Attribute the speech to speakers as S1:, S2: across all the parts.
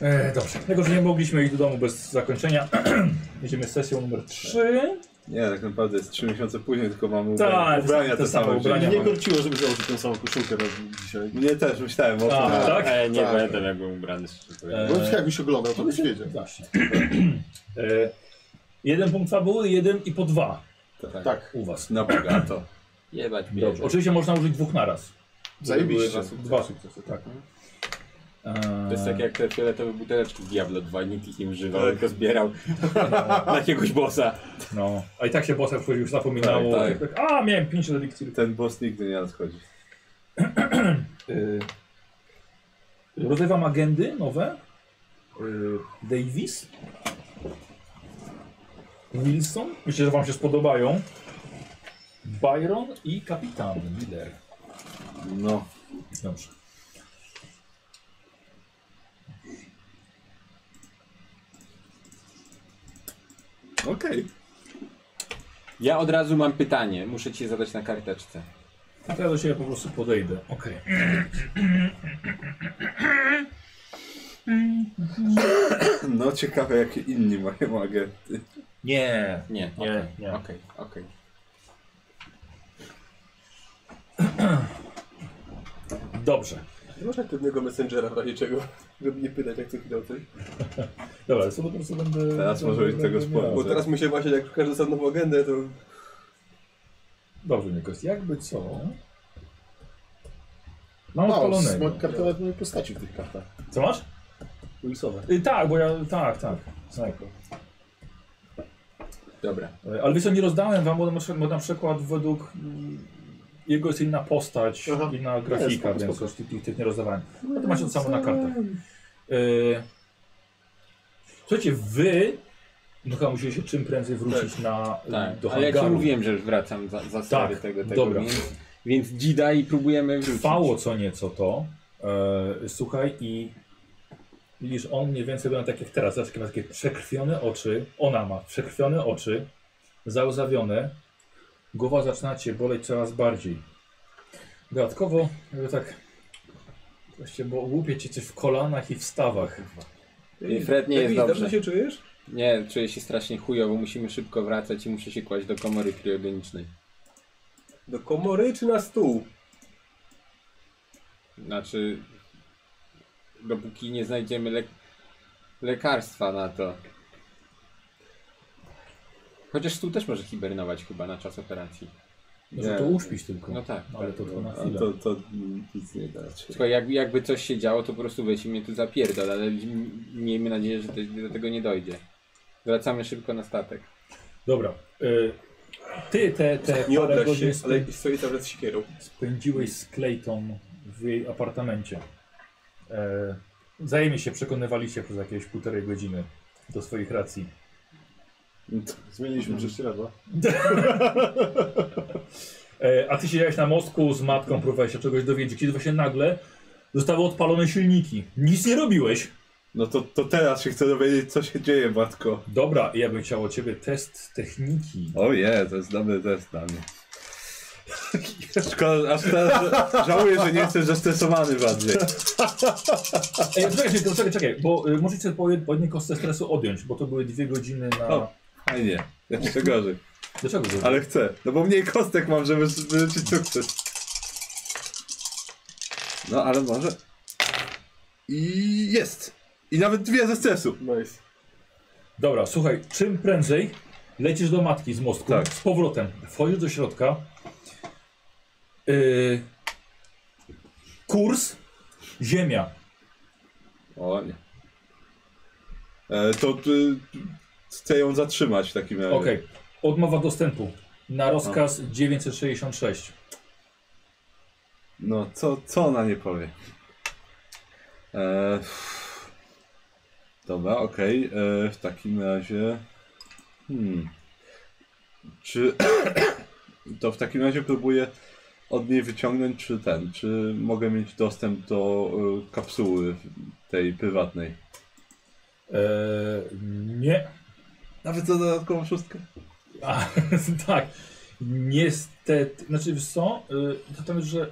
S1: E, dobrze. Tego, że nie mogliśmy iść do domu bez zakończenia, jedziemy z sesją numer 3.
S2: Nie, tak naprawdę jest 3 miesiące później, tylko mam
S1: Tak,
S2: ubrania
S1: te
S2: te
S1: same
S2: same.
S1: ubrania.
S2: czyli
S3: Nie korciło, żeby założyć tą samą koszulkę na dzisiaj.
S2: nie- Mnie też, myślałem o
S1: A,
S2: tym.
S1: tak?
S4: E, nie
S3: Tak.
S4: pamiętam jak byłem ubrany, szczerze
S1: E,
S4: powiem.
S3: Bo jakbyś oglądał, to byś wiedział.
S1: Właśnie. E, jeden punkt fabuły, jeden i po dwa
S3: Tak,
S1: u was.
S2: Na bogato.
S4: Jebać mnie.
S1: Dobrze. Oczywiście można użyć dwóch naraz.
S3: zajebiście.
S4: Były
S1: Dwa sukcesy, tak.
S4: Mhm.
S1: E,
S4: To jest tak jak te fioletowe buteleczki w Diablo 2, nikt ich nie używał,
S1: Tak.
S4: tylko zbierał na jakiegoś bossa.
S1: No, a i tak się bossa wchodzi, już zapominało.
S4: Tak,
S1: A, miałem 5 relikcji.
S2: Ten boss nigdy nie nadchodzi.
S1: Yy, rozrywam agendy nowe. Yy, Davis. Wilson. Myślę, że wam się spodobają. Byron i kapitan Miller.
S2: No.
S1: Dobrze.
S2: Okej.
S4: Ja od razu mam pytanie, muszę ci je zadać na karteczce.
S1: A to ja do ciebie po prostu podejdę. Okej.
S2: No ciekawe, jakie inni mają agenty.
S1: Nie.
S4: Nie,
S1: Nie,
S4: okej,
S1: nie.
S4: Okej, okej.
S1: Dobrze.
S5: Nie masz aktywnego messengera w razie czego, żeby nie pytać jak co chwilę o coś.
S1: Dobra, co po prostu będę.
S2: Teraz
S1: będę-
S2: może być
S1: będę
S2: tego
S1: miał.
S2: sporo.
S5: Bo teraz mi się właśnie, jak każdy sobie nową agendę, to
S1: Dobrze, Nikos. Jakby co? Mam
S3: Mało,
S1: odpalonego.
S2: no.
S3: smak kartonet mojej postaci w tych kartach.
S1: Co masz?
S3: Ulicowe.
S1: Y, tak, bo ja. Tak, tak. Snajper.
S4: Dobra.
S1: E, Ale wiesz, co, nie rozdałem wam, bo na, przykład- bo na przykład według mm, jego jest inna postać,
S3: Aha.
S1: inna grafika,
S3: spoko,
S1: więc
S3: spoko.
S1: już tych, tych, tych nie rozdawałem. No to macie to samo na kartach. E, słuchajcie, wy no chyba musieliście czym prędzej wrócić na,
S4: Tak,
S1: do
S4: ale ja ci
S1: hangaru.
S4: mówiłem, że już wracam za, za
S1: Tak,
S4: tak, tego, tego,
S1: dobra.
S4: więc, więc dzida i próbujemy wrzucić.
S1: Trwało co nieco to, e, słuchaj i widzisz, on mniej więcej wygląda tak jak teraz, zobacz, jakie ma takie przekrwione oczy, ona ma przekrwione oczy, załzawione, głowa zaczyna cię boleć coraz bardziej. Dodatkowo, jakby tak, właśnie, bo łupie cię coś w kolanach i w stawach.
S4: Nie, Fred nie jest
S5: Davis,
S4: dobrze.
S5: dobrze się czujesz?
S4: Nie, czuję się strasznie chujowo, musimy szybko wracać i muszę się kłaść do komory kriogenicznej.
S5: Do komory czy na stół?
S4: Znaczy, dopóki nie znajdziemy lek lekarstwa na to. Chociaż tu też może hibernować chyba na czas operacji.
S1: Może
S2: Nie.
S1: to uśpisz tylko.
S4: No tak.
S1: Ale to tylko na
S2: A
S1: chwilę.
S2: to, to mm, nic nie da się.
S4: Słuchaj, jakby, jakby coś się działo, to po prostu weź i mnie tu zapierdol, ale m- miejmy nadzieję, że te- do tego nie dojdzie. Wracamy szybko na statek.
S1: Dobra. Y, ty te, te
S5: Nie
S1: parę
S5: obraź się,
S1: godzin
S5: ale stoi cały czas z siekierą.
S1: spędziłeś z Clayton w jej apartamencie. E, zajmie się, przekonywaliście przez jakieś półtorej godziny do swoich racji.
S2: Mhm.
S3: Zmieniliśmy prześcieradła.
S1: E, a ty siedziałeś na mostku z matką, próbowałeś się czegoś dowiedzieć, kiedy właśnie nagle zostały odpalone silniki. Nic nie robiłeś.
S2: No to, to teraz się chcę dowiedzieć, co się dzieje, matko.
S1: Dobra, ja bym chciał od ciebie test techniki.
S2: O je, to jest dobry test dla mnie. Szkoda, aż teraz że- żałuję, że nie jestem zestresowany bardziej.
S1: Ej, e, czekaj, czekaj, czekaj, czekaj bo y, możecie po, jed- po jednej kostce stresu odjąć, bo to były dwie godziny na...
S2: O. Fajnie, jeszcze gorzej.
S1: Dlaczego? to-
S2: Ale chcę, no bo mniej kostek mam, żeby wyrzucić sukces. No ale może. I jest! I nawet dwie ze stresu.
S3: Nice.
S1: Dobra, słuchaj, czym prędzej lecisz do matki z mostku,
S2: Tak.
S1: z powrotem, wchodzisz do środka. Yy, kurs, ziemia.
S2: O nie. E, to y, chcę ją zatrzymać w takim razie.
S1: Okej, odmowa dostępu na rozkaz 966.
S2: No, co, co ona nie powie? E, pff. dobra, okej. e, W takim razie. Hmm. Czy. to w takim razie próbuję od niej wyciągnąć, czy ten. Czy mogę mieć dostęp do e, kapsuły tej prywatnej?
S1: Yy, nie,
S2: Nawet za dodatkową szóstkę?
S1: A, tak, niestety, znaczy wiesz co, yy, to tam jest, że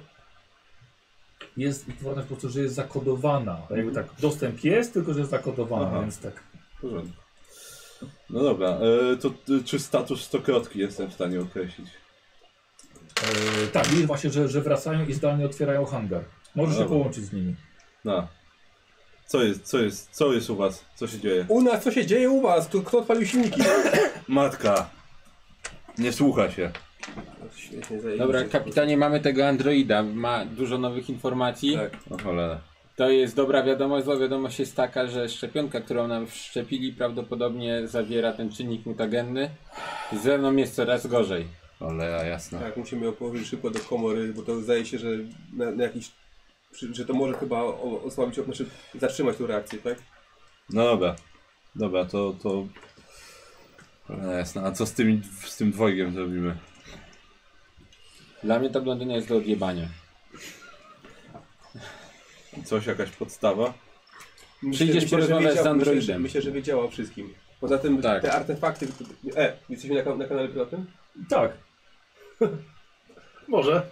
S1: jest wytworna po prostu, że jest zakodowana. Jakby tak, dostęp jest, tylko że jest zakodowana,
S2: Mhm. Aha.
S1: więc tak.
S2: W porządku. No dobra, e, to e, czy status stokrotki jestem w stanie określić?
S1: E, tak, widzisz właśnie, że, że wracają i zdalnie otwierają hangar. Możesz się
S2: Dobra.
S1: połączyć z nimi.
S2: Na. No. Co jest, co jest, co jest u was? Co się dzieje?
S5: U nas, co się dzieje u was? Kto, kto odpalił silniki?
S2: Matka! Nie słucha się.
S5: Świetnie, zajebiście.
S4: Dobra, kapitanie, mamy tego androida, ma dużo nowych informacji.
S5: Tak.
S2: O cholera.
S4: To jest dobra wiadomość. Zła wiadomość jest taka, że szczepionka, którą nam wszczepili, prawdopodobnie zawiera ten czynnik mutagenny. Ze mną jest coraz gorzej.
S2: Cholera, jasna.
S5: Tak, musimy ją położyć szybko do komory, bo to zdaje się, że na, na jakiś... przy- Że to może chyba o- osłabić, znaczy zatrzymać tą reakcję, tak?
S2: No dobra. Dobra, to, to... Cholera, jasna. A co z tym, z tym dwojgiem zrobimy?
S4: Dla mnie ta blondyna jest do odjebania.
S2: Coś, jakaś podstawa?
S5: Myślę-
S4: Przyjdziesz
S5: myślę, że
S4: porozmawiać
S5: wiedział-
S4: z androidem.
S5: Myślę, że- myślę, że wiedziała o wszystkim. Poza tym
S4: Tak.
S5: te artefakty... E, jesteśmy na, ka- na kanale prywatnym?
S1: Tak. Może.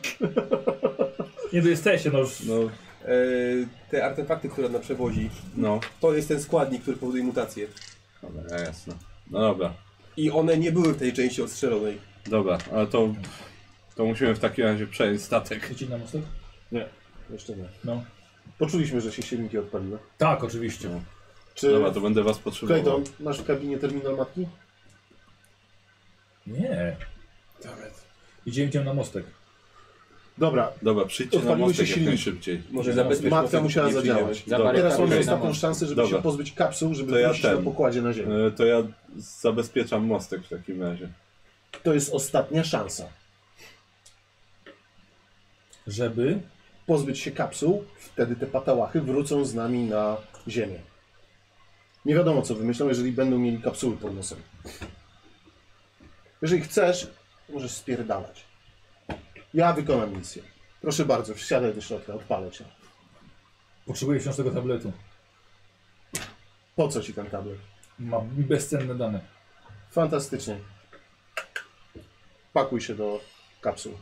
S1: Nie, to jesteście, no już.
S2: No,
S5: E, te artefakty, które ona przewozi,
S2: no.
S5: to jest ten składnik, który powoduje mutację.
S2: Cholera, jasna. No dobra.
S5: I one nie były w tej części odstrzelonej.
S2: Dobra, ale to... To musimy w takim razie przejąć statek.
S1: Chcecie na mostek?
S3: Jeszcze nie.
S1: No.
S3: Poczuliśmy, że się silniki odpaliły.
S1: Tak, oczywiście.
S3: Czy
S2: Dobra, to będę was potrzebował.
S3: Clayton, masz w kabinie terminal matki?
S1: Nie. Idziemy tam na mostek.
S3: Dobra,
S2: Dobra, przyjdźcie na
S3: Odpaliły się
S2: mostek jak
S3: silniki.
S2: najszybciej.
S5: Może
S1: No,
S5: zabezpieczyć.
S3: matka musiała
S5: nie
S3: zadziałać.
S5: przyjmiemy.
S4: Za
S2: Dobra,
S4: parę
S3: Teraz
S4: tak,
S3: mamy
S4: tak,
S3: jest
S4: na
S3: taką
S4: most.
S3: szansę, żeby
S2: Dobra.
S3: się pozbyć kapsuł, żeby
S2: To ja
S3: wrócić
S2: ten.
S3: na pokładzie na ziemię.
S2: E, To ja zabezpieczam mostek w takim razie.
S3: To jest ostatnia szansa.
S1: Żeby.
S3: Pozbyć się kapsuł, wtedy te patałachy wrócą z nami na ziemię. Nie wiadomo, co wymyślą, jeżeli będą mieli kapsuły pod nosem. Jeżeli chcesz, możesz spierdalać. Ja wykonam misję. Proszę bardzo, wsiadaj do środka, odpalę cię.
S1: Potrzebuję wciąż tego tabletu.
S3: Po co ci ten tablet?
S1: Ma bezcenne dane.
S3: Fantastycznie. Pakuj się do kapsuł.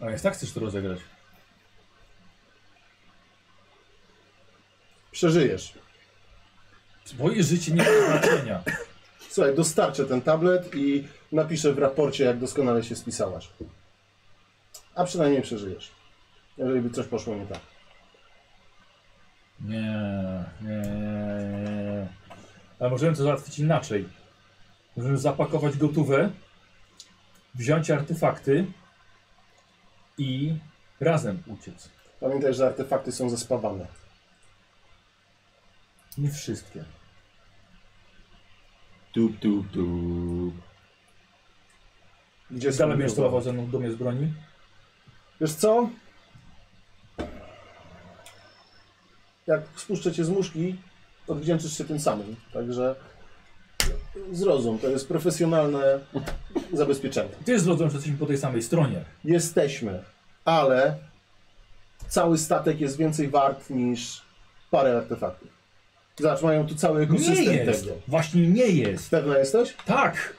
S1: A więc tak chcesz to rozegrać.
S3: Przeżyjesz.
S1: Twoje życie nie ma znaczenia.
S3: Słuchaj, dostarczę ten tablet i napiszę w raporcie, jak doskonale się spisałaś. A przynajmniej przeżyjesz. Jeżeli by coś poszło nie tak.
S1: Nie, nie, nie, nie, nie. Ale możemy to załatwić inaczej. Możemy zapakować gotówę, wziąć artefakty i razem uciec.
S3: Pamiętaj, że artefakty są zespawane.
S1: Nie wszystkie.
S4: Tup, tup, tup.
S3: Gdzie są
S1: Dalej będziesz
S3: drugie?
S1: celował ze mną w domie z broni?
S3: Wiesz co? Jak spuszczę cię z muszki, odwdzięczysz się tym samym. Także zrozum, to jest profesjonalne zabezpieczenie.
S1: Ty zrozumiesz, że jesteśmy po tej samej stronie.
S3: Jesteśmy, ale cały statek jest więcej wart niż parę artefaktów. Zobacz, mają tu cały
S1: Nie
S3: ekosystem
S1: jest!
S3: tego.
S1: Właśnie nie jest!
S3: Pewna jesteś?
S1: Tak!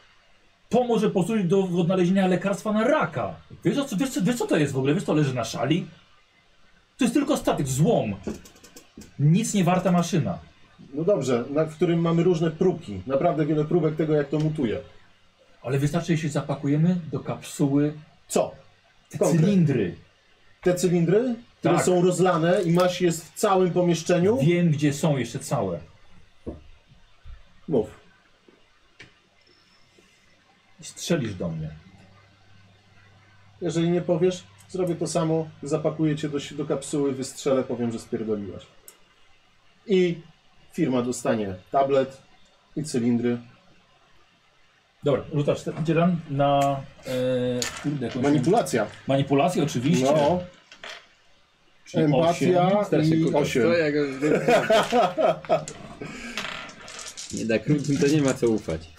S1: To może posłużyć do odnalezienia lekarstwa na raka. Wiesz, o co, wiesz, co- wiesz co to jest w ogóle? Wiesz, co leży na szali? To jest tylko statek, złom. Nic nie warta maszyna.
S3: No dobrze, na, w którym mamy różne próbki. Naprawdę wiele próbek tego, jak to mutuje.
S1: Ale wystarczy, jeśli zapakujemy do kapsuły
S3: Co?
S1: te
S3: Konkret.
S1: cylindry.
S3: Te cylindry, które
S1: Tak.
S3: są rozlane i masz jest w całym pomieszczeniu?
S1: Wiem, gdzie są jeszcze całe.
S3: Mów.
S1: Strzelisz do mnie.
S3: Jeżeli nie powiesz, zrobię to samo, zapakuję cię do, si- do kapsuły, wystrzelę, powiem, że spierdoliłaś. I firma dostanie tablet i cylindry.
S1: Dobra, rzucasz te- gdzie tam? na e, kurde, jakąś-
S3: Manipulacja.
S1: manipulację oczywiście.
S3: No,
S1: Czyli
S3: empatia
S1: osiem.
S3: i
S4: To
S3: 8.
S4: jak... Nie da krótkim, to nie ma co ufać.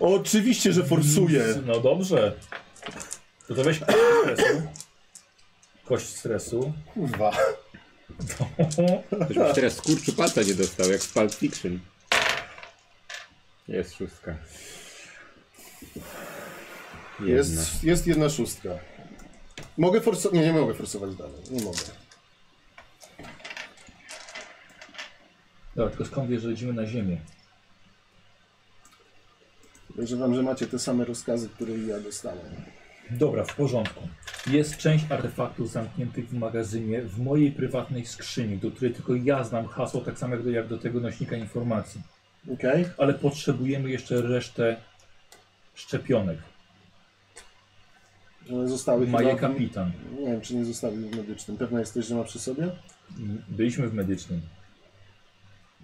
S3: Oczywiście, że forsuje.
S1: No dobrze. To to weź kość stresu. Kość stresu.
S3: Kurwa.
S4: Choćbyś teraz skurczu palca nie dostał, jak w Pulp Fiction. Jest szóstka.
S2: Jedna.
S3: Jest, jest jedna szóstka. Mogę forsować. Nie, nie mogę forsować dalej. Nie mogę.
S1: Dobra, tylko skąd wiesz, że idziemy na ziemię?
S3: Podejrzewam, że macie te same rozkazy, które i ja dostałem.
S1: Dobra, w porządku. Jest część artefaktów zamkniętych w magazynie, w mojej prywatnej skrzyni, do której tylko ja znam hasło, tak samo jak do, jak do tego nośnika informacji.
S3: Okej?
S1: Ale potrzebujemy jeszcze resztę szczepionek.
S3: One Zostały
S1: Ma je
S3: chyba-
S1: kapitan.
S3: Nie wiem, czy nie zostawił w medycznym. Pewna jesteś, że ma przy sobie?
S1: Byliśmy w medycznym.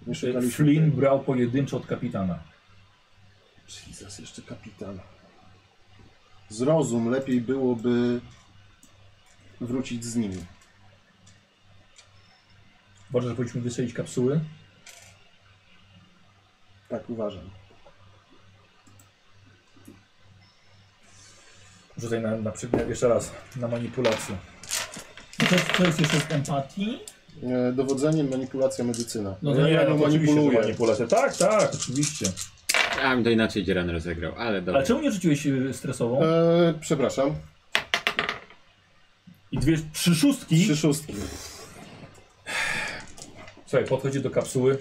S3: Nie szukaliśmy.
S1: Flynn brał pojedynczo od kapitana.
S3: Jesus, jeszcze kapitan. Zrozum, lepiej byłoby wrócić z nimi.
S1: Uważasz, że powinniśmy wystrzelić kapsuły?
S3: Tak uważam.
S1: Rzucaj na, na przykład jeszcze raz, na manipulację. To, to jest jeszcze z empatii?
S3: E, dowodzenie, manipulacja, medycyna. E,
S1: No
S3: ja
S1: to nie,
S3: ja
S1: no
S3: nią
S1: to oczywiście, że
S3: manipuluję.
S1: manipulacja. Tak, tak, oczywiście.
S4: A bym to inaczej Dzieran rozegrał, ale dobra.
S1: Ale czemu nie rzuciłeś y, stresową?
S3: E, przepraszam.
S1: I dwie trzy szóstki.
S3: Trzy szóstki.
S1: Słuchaj, podchodzi do kapsuły.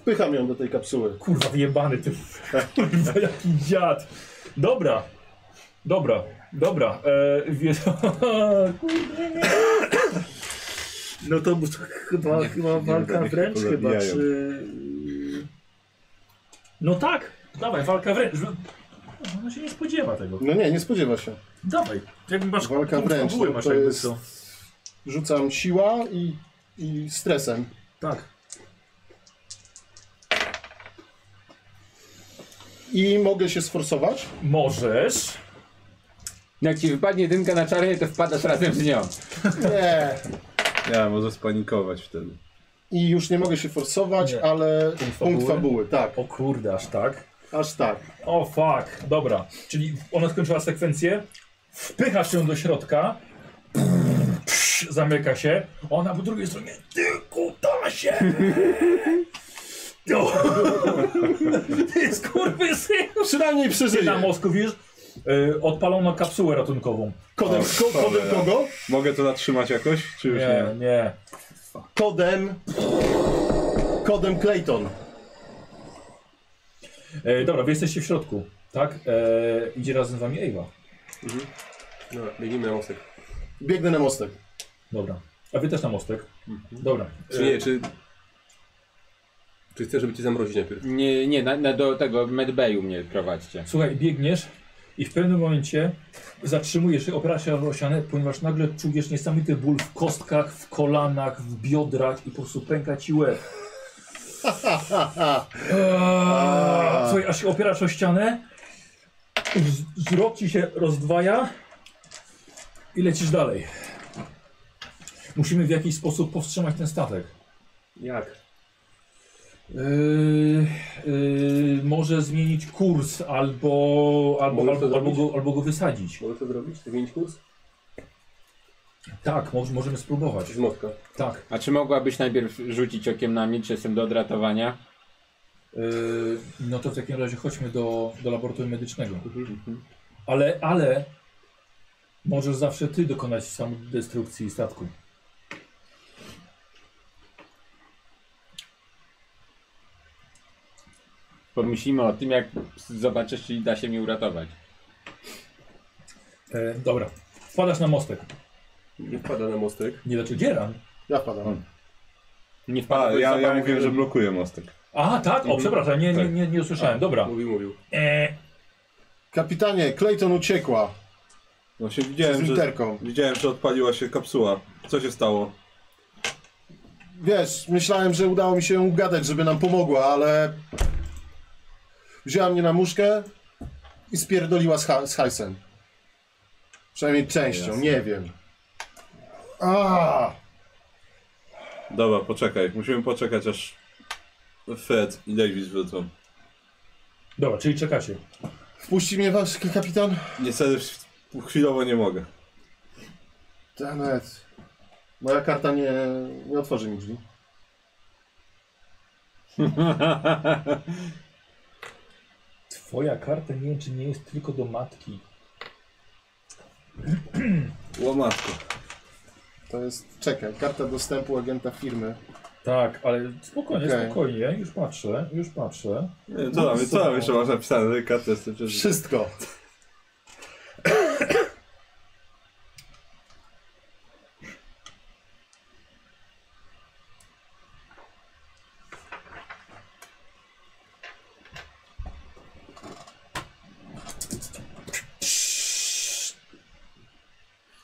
S3: Wpycham ją do tej kapsuły.
S1: Kurwa, wyjebany ty. Kurwa, jaki dziad. Dobra. Dobra, dobra. E, wiesz, kurde, nie. No to b- chyba, chyba walka
S2: będę
S1: wręcz
S2: się
S1: chyba,
S2: pozabijają.
S1: czy... No tak, dawaj, walka wręcz. No, Ona się nie spodziewa tego.
S3: No nie, nie spodziewa się.
S1: Dawaj, jakby masz
S3: Walka
S1: kurwa,
S3: wręcz,
S1: buły
S3: to-
S1: masz
S3: to
S1: jakby
S3: jest-
S1: co.
S3: Rzucam siła i, i stresem.
S1: Tak.
S3: I mogę się sforsować?
S1: Możesz.
S4: Jak ci wypadnie jedynka na czarnie, to wpadasz razem z nią.
S3: Nie.
S2: Ja, może spanikować wtedy.
S3: I już nie mogę się forsować,
S1: Nie.
S3: ale
S1: Punkt
S3: punkt,
S1: fabuły?
S3: fabuły, tak.
S1: O kurde, aż tak.
S3: Aż tak.
S1: O fuck, dobra. Czyli ona skończyła sekwencję, wpycha się do środka, psz, zamyka się, ona po drugiej stronie, ty kutasie! No. Ty skurwysyn!
S3: No Przynajmniej
S1: Na
S3: przeżyję.
S1: mózgu, wiesz, y, odpalono kapsułę ratunkową.
S3: Kodem,
S2: O,
S3: ko, kodem
S2: cholera.
S3: kogo?
S2: Mogę to zatrzymać jakoś, czy już nie?
S1: Nie, nie.
S3: Kodem. Kodem Clayton.
S1: E, dobra, wy jesteście w środku, tak? E, idzie razem z wami Ewa.
S5: Dobra, biegnijmy na mostek.
S3: Biegnę na mostek.
S1: Dobra. A wy też na mostek.
S2: Mhm.
S1: Dobra.
S5: Czy nie, czy... Czy chcesz, żeby cię zamrozić najpierw?
S4: Nie, nie, na, na, do tego medbayu mnie prowadźcie.
S1: Słuchaj, biegniesz i w pewnym momencie zatrzymujesz się, opierasz się o osianę, ponieważ nagle czujesz niesamowity ból w kostkach, w kolanach, w biodrach i po prostu pęka ci łeb. Eee, Słuchaj, aż się opierasz o ścianę, z- wzrok ci się rozdwaja i lecisz dalej. Musimy w jakiś sposób powstrzymać ten statek.
S5: Jak?
S1: Yy, yy, może zmienić kurs albo, albo,
S5: Możesz to
S1: albo, albo,
S5: zrobić?
S1: go, albo go wysadzić.
S5: Możesz to zrobić? Zmienić kurs?
S1: Tak, moż, możemy spróbować.
S5: Czy z mostka?
S1: Tak.
S4: A czy mogłabyś najpierw rzucić okiem na mnie, czy jestem do odratowania?
S1: Yy, no to w takim razie chodźmy do, do laboratorium medycznego. mhm. Ale, ale możesz zawsze ty dokonać samodestrukcji statku.
S4: Pomyślimy o tym, jak zobaczysz, czy da się mnie uratować.
S1: E, dobra. Wpadasz na mostek.
S5: Nie wpada na mostek.
S1: Nie znaczy dzieran.
S3: Ja wpadam.
S2: Hmm.
S4: Nie wpadł
S2: A, ja, ja mówiłem, że blokuję mostek.
S1: A, tak? O, przepraszam, nie, nie, nie, nie usłyszałem. Dobra.
S5: Mówił, mówił.
S1: E,
S3: Kapitanie, Clayton uciekła.
S2: Właśnie
S3: Z
S2: No widziałem, że,
S3: literką.
S2: widziałem, że odpaliła się kapsuła. Co się stało?
S3: Wiesz, myślałem, że udało mi się ją ugadać, żeby nam pomogła, ale... Wzięła mnie na muszkę i spierdoliła z, ha z hajsem. Przynajmniej częścią, nie wiem. A,
S2: Dobra, poczekaj. Musimy poczekać, aż Fred i Davis wrócą.
S1: dobra, czyli czekacie.
S3: Wpuści mnie wasz k- kapitan?
S2: Niestety chwilowo nie mogę.
S3: Damet. Moja karta nie, nie otworzy mi drzwi.
S1: Twoja karta nie wiem, czy nie jest tylko do matki.
S2: Łomatko.
S3: To jest, czekaj, karta dostępu agenta firmy.
S1: Tak, ale spokojnie,
S3: Okej.
S1: spokojnie. Już patrzę, już patrzę.
S2: Nie, Co tam, co tam jeszcze masz napisane? Kartę z tym, że...
S3: Wszystko.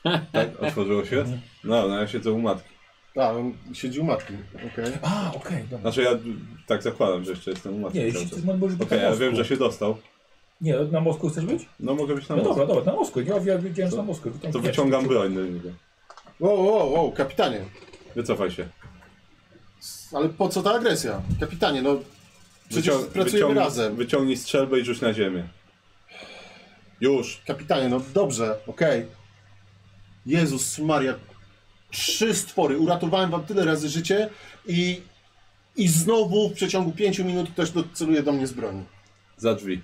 S2: Tak, otworzyło się? No, no ja siedzę u matki.
S3: A, on siedzi u matki, okej.
S1: A, okej, dobra.
S2: Znaczy ja tak zakładam, że jeszcze jestem u matki.
S1: Nie,
S2: cały
S1: jeśli
S2: czas.
S1: chcesz, no, możesz być
S2: Okej,
S1: na
S2: ja
S1: mostku.
S2: wiem, że się dostał.
S1: Nie, na mostku chcesz być?
S2: No mogę być na
S1: No dobra,
S2: mostku.
S1: dobra, na mostku. Ja ja wiedziałem, że
S2: To-
S1: na mostku. Tam
S2: To
S1: wiesz,
S2: wyciągam
S1: to-
S2: broń do niego.
S3: O, o, o, kapitanie.
S2: Wycofaj się.
S3: Ale po co ta agresja? Kapitanie, no przecież
S2: Wycią-
S3: pracujemy
S2: wyciągnij-
S3: razem.
S2: Wyciągnij strzelbę i rzuć na ziemię. Już.
S3: Kapitanie, no dobrze, okej. Jezus Maria, trzy stwory, uratowałem wam tyle razy życie i, i znowu w przeciągu pięciu minut ktoś doceluje do mnie z broni.
S2: Za drzwi.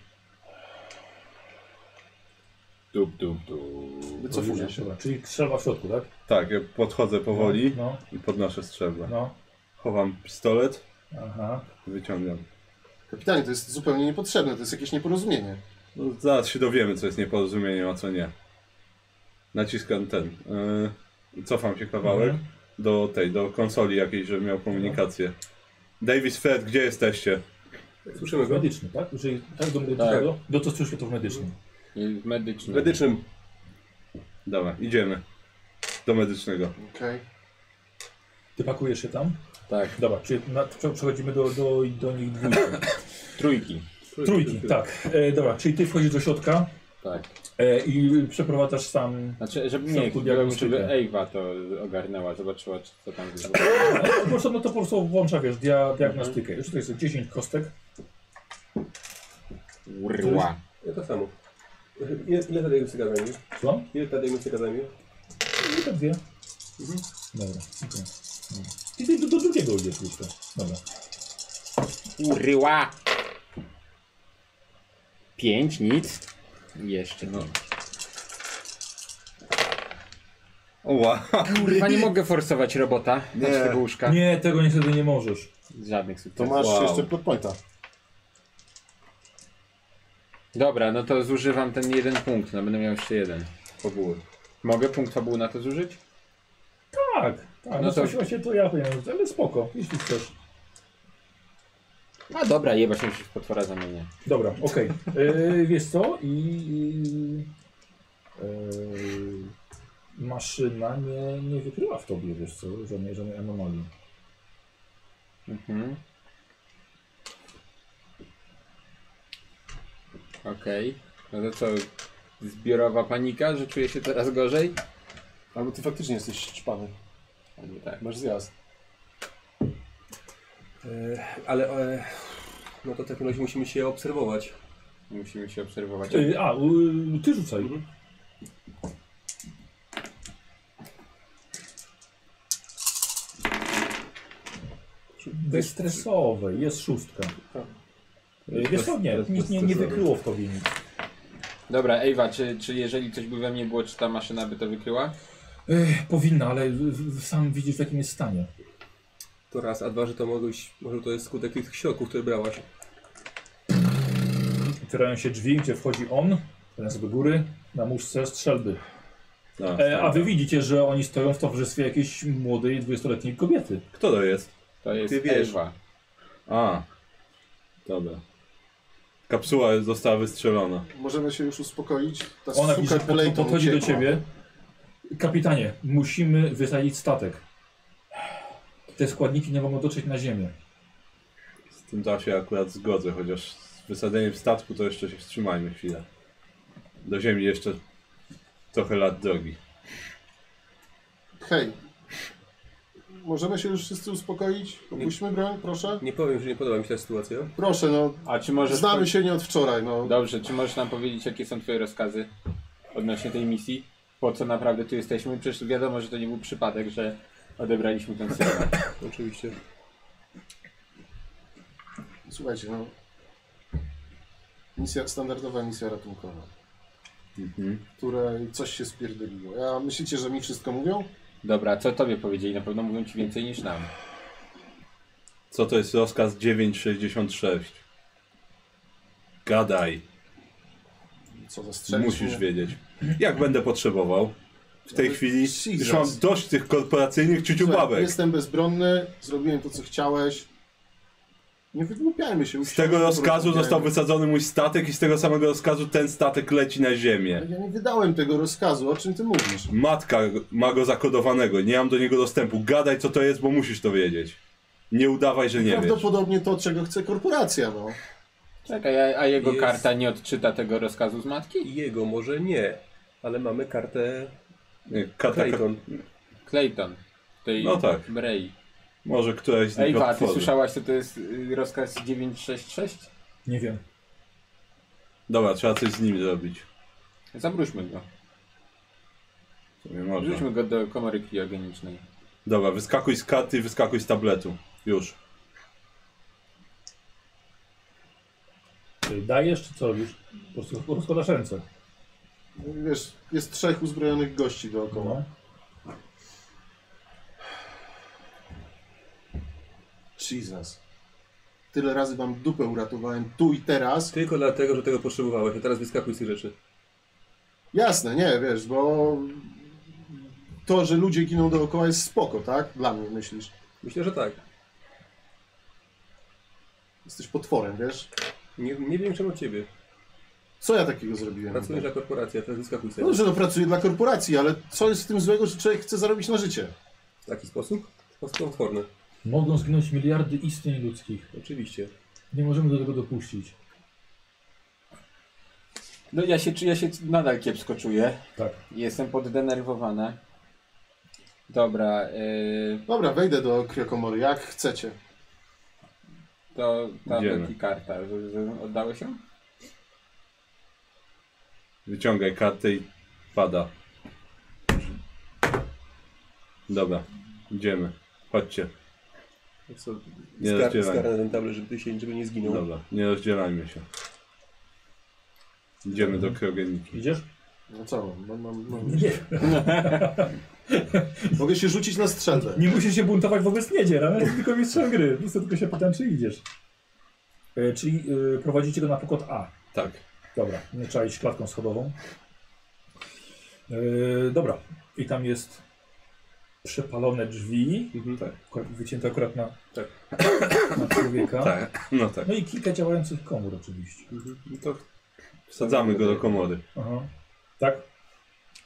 S2: Dup, dup, dup.
S3: Wycofuję się.
S1: Dobra, Czyli strzelba w środku, tak?
S2: Tak, ja podchodzę powoli
S1: No,
S2: i podnoszę strzelbę.
S1: no.
S2: Chowam pistolet
S1: Aha.
S2: i wyciągam.
S3: Kapitanie, to jest zupełnie niepotrzebne, to jest jakieś nieporozumienie.
S2: No, zaraz się dowiemy, co jest nieporozumieniem, a co nie. Naciskam ten. Yy, cofam się kawałek
S1: Mhm.
S2: do tej, do konsoli jakiejś, żebym miał komunikację. Davis Fred, gdzie jesteście?
S5: Słyszymy go.
S1: Medyczny, tak? Jeżeli tak do medycznego, do to słyszę to w medycznym.
S4: I y, Medyczny.
S5: Medycznym.
S2: Dobra, idziemy. Do medycznego.
S3: Okej.
S1: Ty pakujesz się tam?
S4: Tak.
S1: Dobra, czyli na, prze- przechodzimy do, do, do nich dwójki.
S4: Trójki.
S1: Trójki, tak. E, dobra, czyli ty wchodzisz do środka
S4: Tak.
S1: e, i przeprowadzasz sam.
S4: Znaczy, żeby
S1: W
S4: nie,
S1: środku diagnostykę.
S4: żeby Ewa to ogarnęła, zobaczyła czy- co tam jest.
S1: No, po prostu, no to po prostu włącza, wiesz, dia, diagnostykę. Już to jest 10 kostek.
S4: Urła.
S5: Ja to samo. Ile, ile ta diagnostyka zajmie?
S1: Co?
S5: Ile ta diagnostyka zajmie?
S1: I te dwie.
S4: Mhm.
S1: Dobra, okej. Dobra. I ty do, do drugiego idziesz jeszcze. Dobra.
S4: Urła. Pięć, nic. Jeszcze no.
S2: Oła,
S4: Kurwa, nie mogę forsować robota nie.
S2: Nie.
S4: tego łóżka.
S1: Nie, tego niestety nie możesz.
S4: Żadnych
S3: To
S4: sukcesów.
S3: masz
S2: Wow.
S3: jeszcze plot pointa.
S4: Dobra, no to zużywam ten jeden punkt, no będę miał jeszcze jeden. Fabuły. Mogę punkt fabuły na to zużyć?
S1: Tak, tak.
S4: No
S1: No
S4: to-
S1: to... Właśnie to ja powinienem, ale spoko, jeśli chcesz.
S4: A dobra, jeba się już w potwora zamienię.
S1: Dobra, okej. E, Wiesz co? I, i e, maszyna nie, nie wykryła w tobie, wiesz co, żadnej, żadnej anomalii.
S4: Mhm. Okej. No to co? Zbiorowa panika, że czuję się coraz gorzej?
S3: Albo ty faktycznie jesteś szpany.
S4: Albo tak.
S3: Masz zjazd.
S5: E, ale e, no to w takim razie musimy się obserwować.
S4: Musimy się obserwować.
S1: E, a, y, ty rzucaj.
S2: Mhm.
S1: Bezstresowe, jest szóstka. E, Wiesz co, nie,
S2: Tak. Bez-
S1: nic nie, nie
S2: bezstresowe.
S1: wykryło w tobie nic.
S4: Dobra, Ewa, czy, czy jeżeli coś by we mnie było, czy ta maszyna by to wykryła?
S1: Ech, powinna, ale w- w- sam widzisz w jakim jest stanie.
S5: To raz, a dwa, że to mogłeś, może to jest skutek tych środków, które brałaś.
S1: Otwierają się drzwi, gdzie wchodzi on, teraz do góry, na muszce strzelby.
S2: No,
S1: E, a wy widzicie, że oni stoją w towarzystwie jakiejś młodej, 20-letniej kobiety.
S2: Kto to jest?
S4: To jest
S5: Ty wiesz.
S4: Ewa.
S2: A, dobra. Kapsuła jest- została wystrzelona.
S3: Możemy się już uspokoić. Ta
S1: Ona
S3: suka
S1: pisze, pod,
S3: Clayton
S1: podchodzi do
S3: uciekła.
S1: ciebie. Kapitanie, musimy wysadzić statek. Te składniki nie mogą dotrzeć na ziemię.
S2: Z tym to się akurat zgodzę, chociaż z wysadzeniem statku to jeszcze się wstrzymajmy chwilę. Do ziemi jeszcze trochę lat drogi.
S3: Hej, możemy się już wszyscy uspokoić? Opuśćmy broń, proszę?
S5: Nie powiem, że nie podoba mi się ta sytuacja.
S3: Proszę, no.
S4: A czy możesz...
S3: Znamy się nie od wczoraj, no.
S4: Dobrze, czy możesz nam powiedzieć, jakie są twoje rozkazy odnośnie tej misji? Po co naprawdę tu jesteśmy? Przecież wiadomo, że to nie był przypadek, że odebraliśmy ten serwer.
S5: Oczywiście.
S3: Słuchajcie, no. Misja, standardowa misja ratunkowa,
S2: Mhm.
S3: której coś się spierdoliło. Ja myślicie, że mi wszystko mówią?
S4: Dobra, co tobie powiedzieli? Na pewno mówią ci więcej niż nam.
S2: Co to jest rozkaz 966? Gadaj,
S3: Co zastrzelić
S2: musisz
S3: mnie?
S2: wiedzieć. Jak będę potrzebował? W tej
S3: Ale
S2: chwili już
S3: Jesus.
S2: mam dość tych korporacyjnych
S3: Słuchaj,
S2: ciuciubabek.
S3: Jestem bezbronny, zrobiłem to, co chciałeś. Nie wygłupiajmy się.
S2: Z tego rozkazu został wysadzony mój statek i z tego samego rozkazu ten statek leci na ziemię.
S3: Ja nie wydałem tego rozkazu, o czym ty mówisz?
S2: Matka ma go zakodowanego, nie mam do niego dostępu. Gadaj co to jest, bo musisz to wiedzieć. Nie udawaj, że nie wiesz.
S3: Prawdopodobnie to, czego chce korporacja, no.
S4: Czekaj, a, a jego
S5: Jest.
S4: karta nie odczyta tego rozkazu z matki?
S5: Jego może nie, ale mamy kartę
S2: Nie, Karta,
S5: Clayton.
S4: Clayton. Tej
S2: No tak.
S4: Bray.
S2: może któraś z nich
S4: Ej, Wa, ty
S2: otworzy.
S4: słyszałaś, co to jest y, rozkaz 966?
S1: Nie wiem.
S2: Dobra, trzeba coś z nim zrobić.
S4: Zabróżmy go.
S2: W sumie można.
S4: Wrzućmy go do komory kriogenicznej.
S2: Dobra, wyskakuj z karty i wyskakuj z tabletu. Już.
S1: Czy dajesz czy co robisz? Po prostu rozkładasz ręce.
S3: Wiesz, jest trzech uzbrojonych gości dookoła.
S1: No.
S3: Jesus. Tyle razy wam dupę uratowałem tu i teraz.
S5: Tylko dlatego, że tego potrzebowałeś, a teraz wyskakuj z tych rzeczy.
S3: Jasne, nie, wiesz, bo to, że ludzie giną dookoła jest spoko, tak? Dla mnie, myślisz.
S5: Myślę, że tak.
S3: Jesteś potworem, wiesz?
S5: Nie, nie wiem czemu od ciebie.
S3: Co ja takiego zrobiłem?
S5: Pracujesz dla korporacji, a teraz wyskakuj z
S3: No
S5: tego.
S3: dobrze, no pracuję dla korporacji, ale co jest w tym złego, że człowiek chce zarobić na życie?
S5: W taki sposób? W sposób potworny.
S1: Mogą zginąć miliardy istnień ludzkich.
S5: Oczywiście.
S1: Nie możemy do tego dopuścić.
S4: No ja się, czu- ja się nadal kiepsko czuję.
S1: Tak.
S4: Jestem poddenerwowana. Dobra, y,
S3: Dobra, wejdę do kriokomory, jak chcecie.
S4: to
S2: Idziemy.
S4: tablet i karta. Z- z- Oddały się?
S2: Wyciągaj kartę i pada. Dobra, idziemy. Chodźcie.
S5: Co,
S2: Nie
S5: skar,
S2: rozdzieraj.
S5: skar na ten tablet, żeby ty się żeby nie zginął.
S2: Dobra, nie rozdzielajmy się. Idziemy do kryogeniki.
S1: Idziesz?
S3: No co, mam, mam, mam...
S1: Nie.
S3: mogę się rzucić na strzelbę.
S1: Nie musisz się buntować wobec niedziel, ale jest tylko mistrzem gry. Więc tylko się pytam, czy idziesz. E, czyli y, prowadzicie go na pokład A.
S2: Tak.
S1: Dobra, nie trzeba iść klatką schodową. E, dobra. I tam jest przepalone drzwi.
S5: Mhm.
S2: Tak.
S1: Akurat Wycięte akurat na,
S5: Tak.
S1: na człowieka.
S2: Tak, no tak.
S1: No i kilka działających komór oczywiście.
S2: No to wsadzamy go do komory.
S1: Aha. Tak?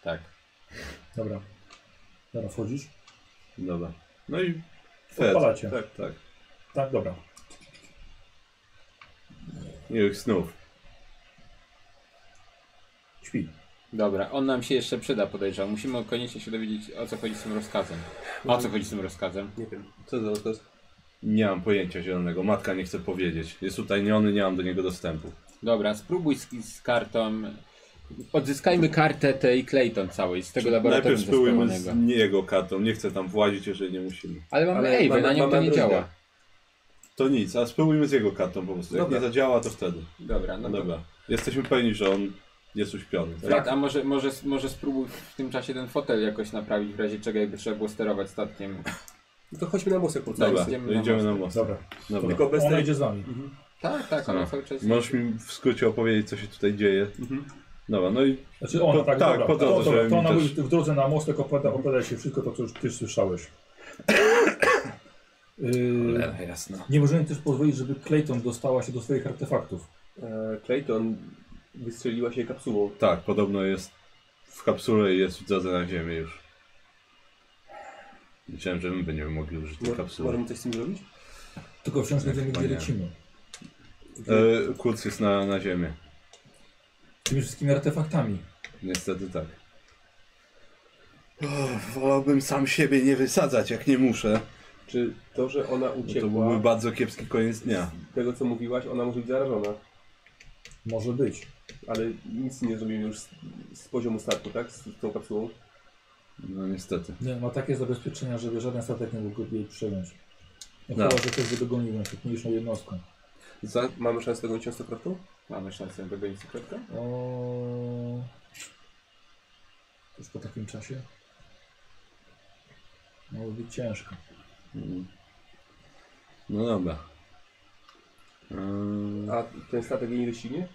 S4: Tak.
S1: Dobra. Dobra, wchodzisz?
S2: Dobra. No i Fred.
S1: Odpalacie. Tak.
S2: Tak, tak.
S1: dobra.
S2: Miłych snów.
S1: Śpi.
S4: Dobra, on nam się jeszcze przyda, podejrzewam. Musimy koniecznie się dowiedzieć, o co chodzi z tym rozkazem. O co chodzi z tym rozkazem?
S5: Nie wiem. Co za rozkaz?
S2: Nie mam pojęcia zielonego. Matka nie chce powiedzieć. Jest utajniony, nie mam do niego dostępu.
S4: Dobra, spróbuj z, z kartą. Odzyskajmy kartę tej Clayton całej, z tego laboratorium
S2: Najpierw spróbujmy
S4: zespołonego.
S2: z jego kartą. Nie chcę tam włazić, jeżeli nie musimy.
S4: Ale mamy
S5: Ale
S4: Ejwę,
S5: mamy-
S4: na nią to
S5: mamy
S4: nie
S5: druida.
S4: działa.
S2: To nic, a spróbujmy z jego kartą po prostu. Jak
S5: Dobra.
S2: nie zadziała, to wtedy.
S4: Dobra,
S2: No
S4: no dobra.
S2: dobra. Jesteśmy pewni, że on jest uśpiony. Tak?
S4: Fred, a może, może, może spróbuj w tym czasie ten fotel jakoś naprawić, w razie czego jakby trzeba było sterować statkiem.
S5: No to chodźmy na mostek po
S2: Dobra,
S4: idziemy
S2: to
S4: na
S2: idziemy na
S4: most.
S2: most.
S1: Dobra.
S2: Dobra.
S5: Tylko bez
S1: Ona
S5: tej...
S1: idzie z wami.
S4: Tak, tak, ona
S2: No.
S4: cały czas... Mhm.
S2: Możesz mi w skrócie opowiedzieć, co się tutaj dzieje. Dobra, no i
S1: Znaczy ona,
S2: Po-
S1: tak,
S2: tak,
S1: dobra.
S2: po
S1: to,
S2: drodze,
S1: to,
S2: żeby
S1: to
S2: mi
S1: ona
S2: też-
S1: mówi w drodze na mostek opowiada, opowiada się wszystko to, co już ty słyszałeś. Yy,
S4: E,
S2: jasno.
S1: nie możemy też pozwolić, żeby Clayton dostała się do swoich artefaktów.
S5: E, Clayton wystrzeliła się kapsułą.
S2: Tak, podobno jest w kapsule i jest na ziemię już. Myślałem, że my będziemy mogli użyć tej
S5: Mo-
S2: kapsuły.
S5: Możemy coś z tym zrobić?
S1: Tylko wciąż nie
S2: Tak,
S1: wiemy, gdzie
S2: panie.
S1: lecimy.
S2: E, Kurz jest na, na ziemię.
S1: Tymi wszystkimi artefaktami.
S2: Niestety tak. wolałbym sam siebie nie wysadzać, jak nie muszę.
S5: Czy to, że ona
S2: Bo No to
S5: uciekła
S2: byłby bardzo kiepski koniec dnia.
S5: z tego co mówiłaś, ona może być zarażona.
S1: Może być.
S5: Ale nic nie zrobimy już z, z poziomu statku, tak? Z, z tą kapsułą.
S2: No niestety.
S1: Nie, ma takie zabezpieczenia, żeby żaden statek nie mógł jej przejąć. No,
S2: No.
S1: Chyba, że ktoś by dogonił ją, mniejszą jednostką.
S2: Za...
S5: Mamy szansę dogonić ją stokrotką?
S4: Mamy szansę dogonić cukierka?
S1: O... Już po takim czasie? Może być ciężko.
S2: Mm. No dobra. Eee,
S5: A ten statek jej nie doścignie?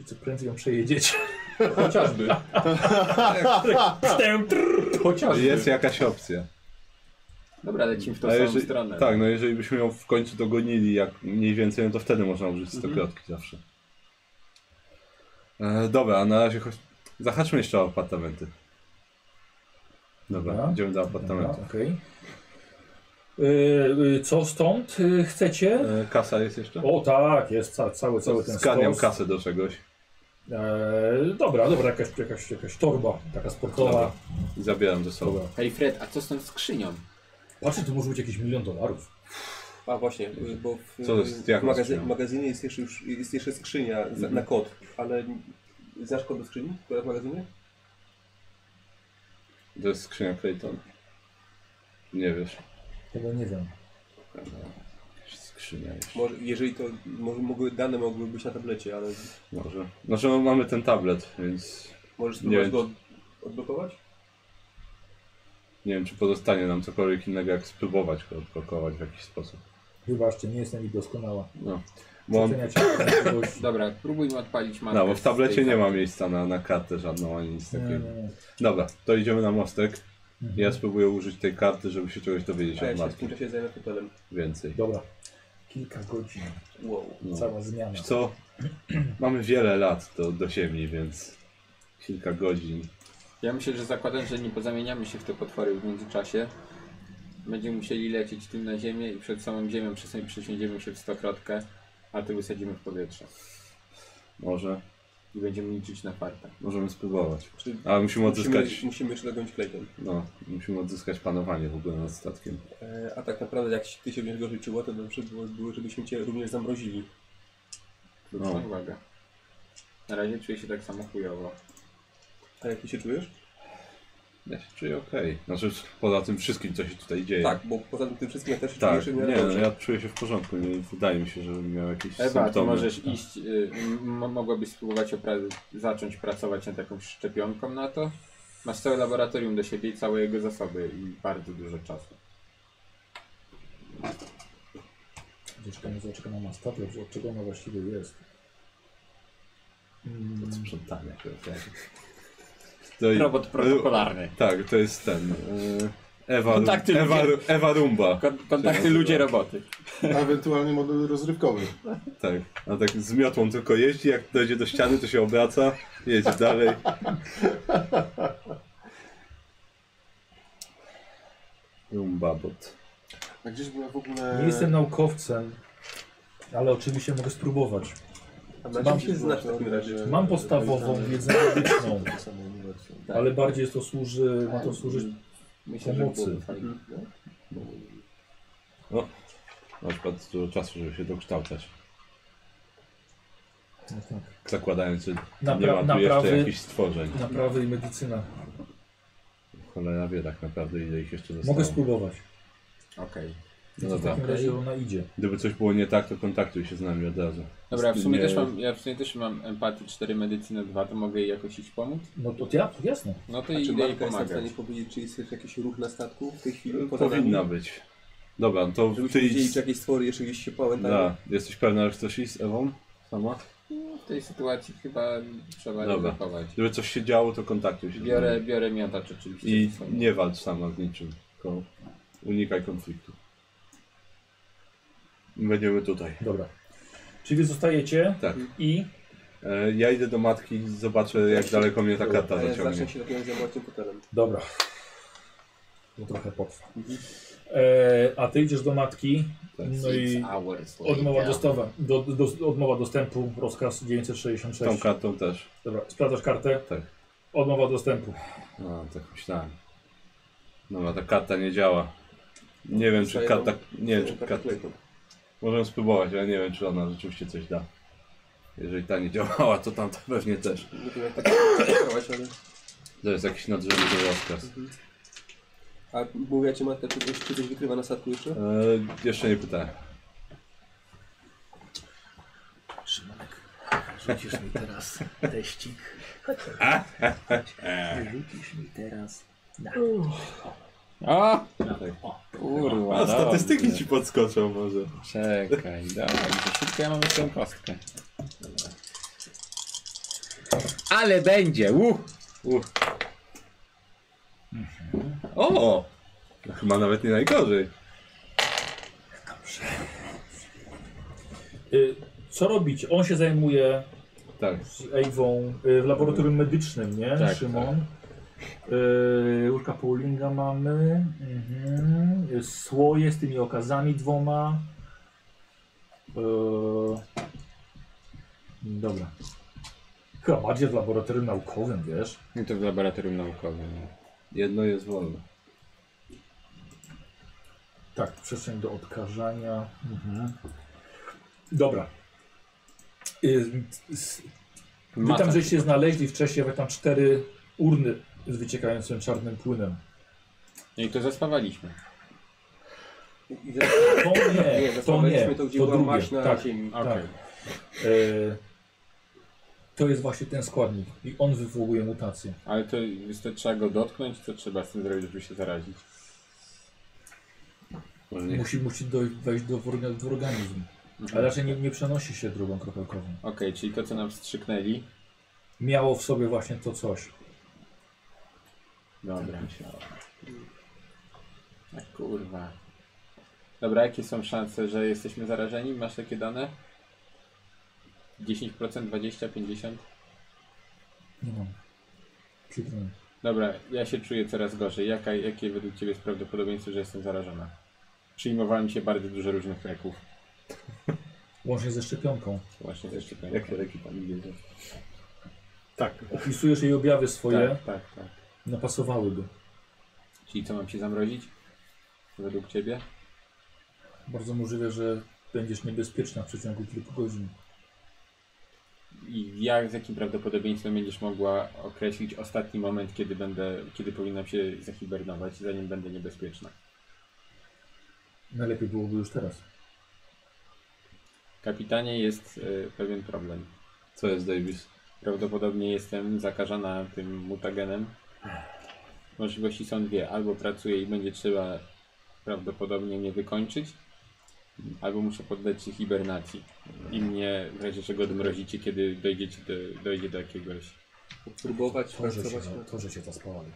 S1: I co prędzej ją przejedziecie.
S5: Chociażby.
S1: Pstęp,
S5: Chociażby.
S2: Jest jakaś opcja.
S4: Dobra, lecimy w tą
S2: A
S4: samą
S2: jeżeli-
S4: stronę.
S2: Tak, no jeżeli byśmy ją w końcu dogonili, jak mniej więcej, no to wtedy można użyć
S4: Mhm.
S2: stokrotki zawsze. E, dobra, a na razie choć... zahaczmy jeszcze o apartamenty. Dobra,
S1: Dobra.
S2: idziemy do
S1: Dobra,
S2: apartamentów.
S1: okej. Yy, yy, Co stąd yy, chcecie?
S2: E, kasa jest jeszcze?
S1: O tak, jest ca cały, cały ten
S2: Zgadniam
S1: stos.
S2: kasę do czegoś
S1: Eee, dobra, dobra, jakaś, jakaś, jakaś torba, taka sportowa.
S2: Dobra. i zabieram ze sobą.
S4: Hej Fred, a co z tą skrzynią?
S1: Patrzę, to może być jakiś milion dolarów.
S5: A właśnie, bo w,
S2: Co to jest?
S5: w
S2: Jak Mhm.
S5: magazy
S2: skrzynia?
S5: w magazynie jest jeszcze, już, jest jeszcze skrzynia za, na kod, ale znasz kod do skrzyni, która w magazynie?
S2: To jest skrzynia Clayton. Nie wiesz.
S1: Tego nie wiem.
S2: Skrzynia jeszcze.
S5: Może, jeżeli to, może, mogły, dane mogły być na tablecie, ale
S2: Może. Znaczy no, mamy ten tablet, więc
S5: możesz
S2: Nie
S5: spróbować
S2: wiem,
S5: go od, odblokować?
S2: nie wiem czy pozostanie nam cokolwiek innego jak spróbować go odblokować w jakiś sposób.
S1: Wybaczcie, nie jestem ich doskonała.
S2: No. Bo mam
S1: Przeceniacie jakiegoś...
S4: Dobra, próbujmy odpalić matkę.
S2: No, bo w
S4: z
S2: tablecie
S4: tej
S2: nie ma
S4: karty.
S2: miejsca na, na kartę żadną ani nic
S1: Nie, nie,
S2: takiego.
S1: nie.
S2: Dobra, to idziemy na mostek.
S1: Mhm.
S2: Ja spróbuję użyć tej karty, żeby się czegoś dowiedzieć
S5: A ja
S2: od
S5: się w
S2: matki
S5: tym czasie zajmę hotelem.
S2: więcej.
S1: Dobra. Kilka godzin,
S5: Wow.
S2: No.
S1: cała zmiana.
S2: Wiesz co? Mamy wiele lat do, do ziemi, więc kilka godzin.
S4: Ja myślę, że zakładam, że nie pozamieniamy się w te potwory w międzyczasie. Będziemy musieli lecieć tym na ziemię i przed samą ziemią czasami przesiądziemy się w stokrotkę, a ty wysadzimy w powietrze.
S2: Może
S4: I będziemy liczyć na farta.
S2: możemy spróbować.
S5: Czy
S2: Ale musimy
S5: musimy,
S2: odzyskać.
S5: musimy jeszcze dogonić Clayton.
S2: No, musimy odzyskać panowanie w ogóle nad statkiem.
S5: E, A tak naprawdę jak ty się będziesz go życzyło, to dobrze by było, żebyśmy cię również zamrozili.
S4: Zwróć
S2: No.
S4: uwagę. Na razie czuję się tak samo chujowo.
S5: A jak ty się czujesz?
S2: Ja się czuję okej. Znaczy poza tym wszystkim co się tutaj dzieje.
S5: Tak, bo poza tym, tym wszystkim ja też się
S2: Tak,
S5: czuję
S2: nie,
S5: się
S2: no, ja czuję się w porządku. Nie, wydaje mi się, że miał jakieś
S4: Ewa, ty
S2: symptomy.
S4: możesz iść, y, m- mogłabyś spróbować opra- zacząć pracować nad jakąś szczepionką na to. Masz całe laboratorium do siebie i całe jego zasoby i bardzo dużo czasu.
S1: Zaczekamy, zaczekamy na statut, od czego ona właściwie jest. Mm,
S2: Sprzątania się okazji. To i-
S4: Robot protokolarny.
S2: Tak, to jest ten. y, Ewa,
S1: No tak,
S4: Kontakty
S2: Ru- Ewa,
S4: ludzie.
S2: Ru- Ewa Rumba.
S4: Kon- kontakty
S2: Się
S4: ludzie
S2: nazywa.
S4: roboty.
S3: A ewentualnie model rozrywkowy.
S2: Tak. A tak z miotłą tylko jeździ, jak dojdzie do ściany, to się obraca, jedzie dalej. Rumba bot.
S3: A gdzieś była w ogóle...
S1: Nie jestem naukowcem, ale oczywiście mogę spróbować.
S5: A na
S1: Mam-
S5: czym się znasz w takim razie?
S1: Mam podstawową wiedzę medyczną,
S5: Tak.
S1: ale bardziej jest to służy, ma to służyć
S4: Myślę,
S1: Pomocy.
S4: byłoby fajnie.
S2: Na przykład dużo czasu, żeby się dokształcać.
S1: no tak,
S2: Zakładając, że nie
S1: Napra-
S2: ma tu jeszcze
S1: naprawy- No.
S2: jakichś stworzeń.
S1: naprawy i medycyna.
S2: Cholera wie tak naprawdę, ile ich jeszcze zostało.
S1: Mogę spróbować.
S4: Okej.
S2: No
S1: W
S2: dobra.
S1: takim razie ona idzie.
S2: Gdyby coś było nie tak, to kontaktuj się z nami od razu.
S4: Dobra, w sumie
S2: Nie-
S4: też mam, ja w sumie też mam empatię 4, medycynę 2, to mogę jej jakoś iść pomóc?
S1: No to ja, to jasne.
S4: No to
S5: A czy
S4: idę jej
S5: Marka jest nam w
S4: pomagać.
S5: stanie powiedzieć, czy jest jeszcze jakiś ruch na statku w tej chwili? Poza
S2: Powinna
S5: nami?
S2: być. Dobra, no to
S5: Żebyśmy
S2: ty
S5: wiedzieli,
S2: idź.
S5: czy jakieś stwory jeszcze gdzieś się pałętają.
S2: Da. Jesteś pewna, że chcesz iść z Ewą? Sama?
S4: W tej sytuacji chyba trzeba
S2: Dobra.
S4: ją zachować.
S2: Gdyby coś się działo, to kontaktuj się. z
S4: Biorę,
S2: nami.
S4: biorę miotacz oczywiście.
S2: I
S4: ze sobą.
S2: nie walcz sama z niczym. Tylko unikaj konfliktu. Będziemy tutaj.
S1: Dobra. Czyli wy zostajecie
S2: Tak.
S5: Mhm.
S1: i
S2: E, ja idę do matki i zobaczę, jak daleko mnie ta
S5: A
S2: karta
S5: ja
S2: zaciągnie.
S5: zacznę E, się dopiero zajmować tym hotelem.
S1: Dobra. To trochę potrwa.
S5: Mhm.
S1: E, a ty idziesz do matki.
S2: Tak.
S1: No i
S4: Six hours
S1: odmowa,
S4: later.
S1: dostawa, do, do, odmowa dostępu, rozkaz
S2: Tą
S1: 966.
S2: kartą też.
S1: Dobra, sprawdzasz kartę.
S2: Tak.
S1: Odmowa dostępu.
S2: No, tak myślałem. Dobra, ta karta nie działa. Nie wiem, czy
S5: Dostaję
S2: karta...
S5: tą-
S2: Nie wiem, czy
S5: tą
S2: karta...
S5: Clayton.
S2: Możemy spróbować, ale nie wiem, czy ona rzeczywiście coś da. Jeżeli ta nie działała, to tam to pewnie też.
S5: Nie wiem, jak tak działać, ale...
S2: To jest jakiś nadrzędny rozkaz.
S5: A mówiła ci matka, czy coś, czy coś wykrywa na statku jeszcze?
S2: Eee, E, jeszcze nie pytałem.
S6: Rzucisz mi teraz teścik. Rzucisz mi teraz. Na.
S7: O!
S6: O,
S4: Tak.
S7: Kurwa,
S2: A statystyki
S7: dobrze.
S2: ci podskoczą może.
S7: Czekaj, dawaj, to szybko ja mam jeszcze tę kostkę. Ale będzie, uh!
S2: Uch. O! No Chyba nawet nie najgorzej.
S1: Y, co robić? On się zajmuje
S2: Tak.
S1: z Ewą y, w laboratorium medycznym, nie?
S7: Tak,
S1: Szymon. Y, Łóżka Paulinga mamy. Mhm. Y, Słoje z tymi okazami dwoma. Y, dobra. Chyba bardziej w laboratorium naukowym, wiesz?
S7: No to w laboratorium naukowym. no.
S2: Jedno jest wolne.
S1: Tak, przestrzeń do odkażania. Mhm. Dobra. Y, s- Wy
S7: Mata.
S1: tam żeście znaleźli wcześniej, wy tam cztery urny z wyciekającym czarnym płynem.
S4: No i to zaspawaliśmy.
S5: I zaraz-
S1: To nie,
S5: Nie,
S1: to nie,
S5: zaspawaliśmy
S1: to
S5: to, gdzie była
S1: drugie.
S5: maść na
S1: Tak,
S5: ziemi.
S1: tak.
S4: Okej.
S1: E, to jest właśnie ten składnik i on wywołuje mutację.
S4: Ale to, to trzeba go dotknąć, co trzeba z tym zrobić, żeby się zarazić.
S2: Może nie.
S1: Musi, musi doj- wejść do, w orga- w organizm. Ale raczej nie, nie przenosi się drogą kropelkową.
S4: Okej, czyli to co nam wstrzyknęli.
S1: Miało w sobie właśnie to coś.
S4: Dobra. A kurwa. Dobra, jakie są szanse, że jesteśmy zarażeni? Masz takie dane? 10%, 20%, 50%?
S1: Nie mam. Przykro mi.
S4: Dobra, ja się czuję coraz gorzej. Jaka, jakie według Ciebie jest prawdopodobieństwo, że jestem zarażona? Przyjmowałem się bardzo dużo różnych leków.
S1: Łącznie ze szczepionką.
S4: Właśnie ze szczepionką.
S2: Jakie leki pani bierze?
S1: Tak. Opisujesz jej objawy swoje,
S4: Tak, tak, tak.
S1: napasowałyby.
S4: Czyli co, mam się zamrozić? Według Ciebie?
S1: Bardzo możliwe, że będziesz niebezpieczna w przeciągu kilku godzin.
S4: I jak, z jakim prawdopodobieństwem będziesz mogła określić ostatni moment, kiedy będę, kiedy powinnam się zahibernować, zanim będę niebezpieczna?
S1: Najlepiej byłoby już teraz.
S4: Kapitanie, jest y, pewien problem.
S2: Co jest Davis?
S4: Prawdopodobnie jestem zakażona tym mutagenem. Możliwości są dwie. Albo pracuję i będzie trzeba prawdopodobnie mnie wykończyć, albo muszę poddać się hibernacji. I mnie w razie czego odmrozicie, kiedy dojdziecie do, dojdzie do jakiegoś...
S5: Próbować
S1: To, że się,
S5: pracować nad...
S1: to, że się zaspawali.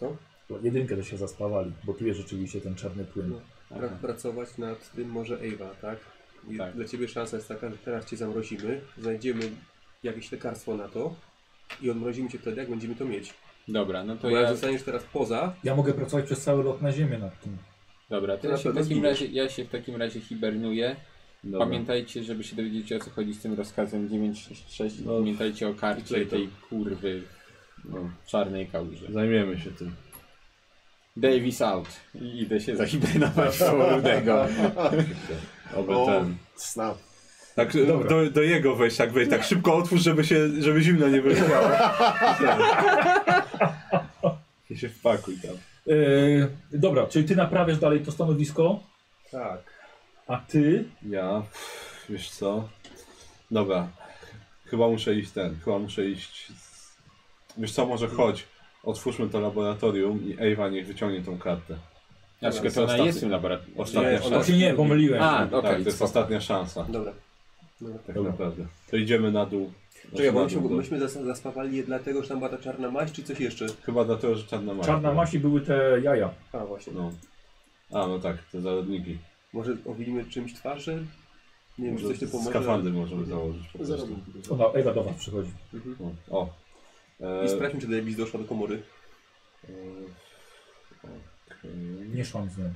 S5: Co?
S1: Bo jedynkę to się zaspawali, bo tu jest rzeczywiście ten czarny płyn.
S5: No. Pra pracować nad tym może Ewa, tak? I
S4: Tak.
S5: Dla ciebie szansa jest taka, że teraz cię zamrozimy, znajdziemy jakieś lekarstwo na to i odmrozimy cię wtedy, jak będziemy to mieć.
S4: Dobra, no
S5: To
S4: to
S5: Bo jak
S4: ja...
S5: zostaniesz teraz poza,
S1: Ja mogę pracować przez cały lot na ziemię nad tym.
S4: Dobra, to
S5: Ty
S4: ja
S5: na
S4: się, w
S5: pewno
S4: takim
S5: zginiesz.
S4: razie, ja się w takim razie hibernuję.
S2: Dobra.
S4: Pamiętajcie, żeby się dowiedzieć o co chodzi z tym rozkazem 966.
S2: No,
S4: Pamiętajcie o karcie
S2: tutaj to-
S4: tej kurwy
S2: No.
S4: w czarnej kałuży.
S2: Zajmiemy się tym.
S4: Davis out. I idę się zahibernować koło rudego.
S2: Oby
S3: O.
S2: ten.
S3: Snap.
S2: Tak, do, do jego wejść, tak wejść, tak szybko otwórz, żeby się, żeby zimno nie wyleciało. I się wpakuj tam.
S1: Yy, dobra, czyli ty naprawiasz dalej to stanowisko,
S5: tak,
S1: a ty
S2: Ja, wiesz co? Dobra, chyba muszę iść ten, chyba muszę iść. z- Wiesz co, może chodź, otwórzmy to laboratorium i Ewa niech wyciągnie tą kartę.
S4: Dlaczego to ona
S2: Ostatni.
S4: jest w tym laboratorium?
S2: Ostatnia
S5: Nie, ona-
S2: szansa.
S1: się nie pomyliłem.
S4: A, okej,
S2: tak, to jest
S4: spoko.
S2: ostatnia szansa,
S5: dobra.
S2: tak naprawdę. To idziemy na dół.
S5: Czekaj, bo
S2: Znaczy,
S5: myśmy,
S2: na dół.
S5: myśmy zas- zaspawali je dlatego, że tam była ta czarna maść, czy coś jeszcze?
S2: Chyba dlatego, że czarna maść.
S1: Czarna masi były te jaja.
S5: A, właśnie.
S2: No. A, no tak, te zarodniki.
S5: Może owinimy czymś twarzy? Nie wiem, czy coś tu pomoże.
S2: Skafandy możemy założyć po prostu.
S3: Zarobił.
S1: Ona, Ewa do was przychodzi.
S2: No, O. E,
S5: I sprawdźmy, czy Davis doszła do komory.
S2: e, okej.
S1: Nie szłam z nią.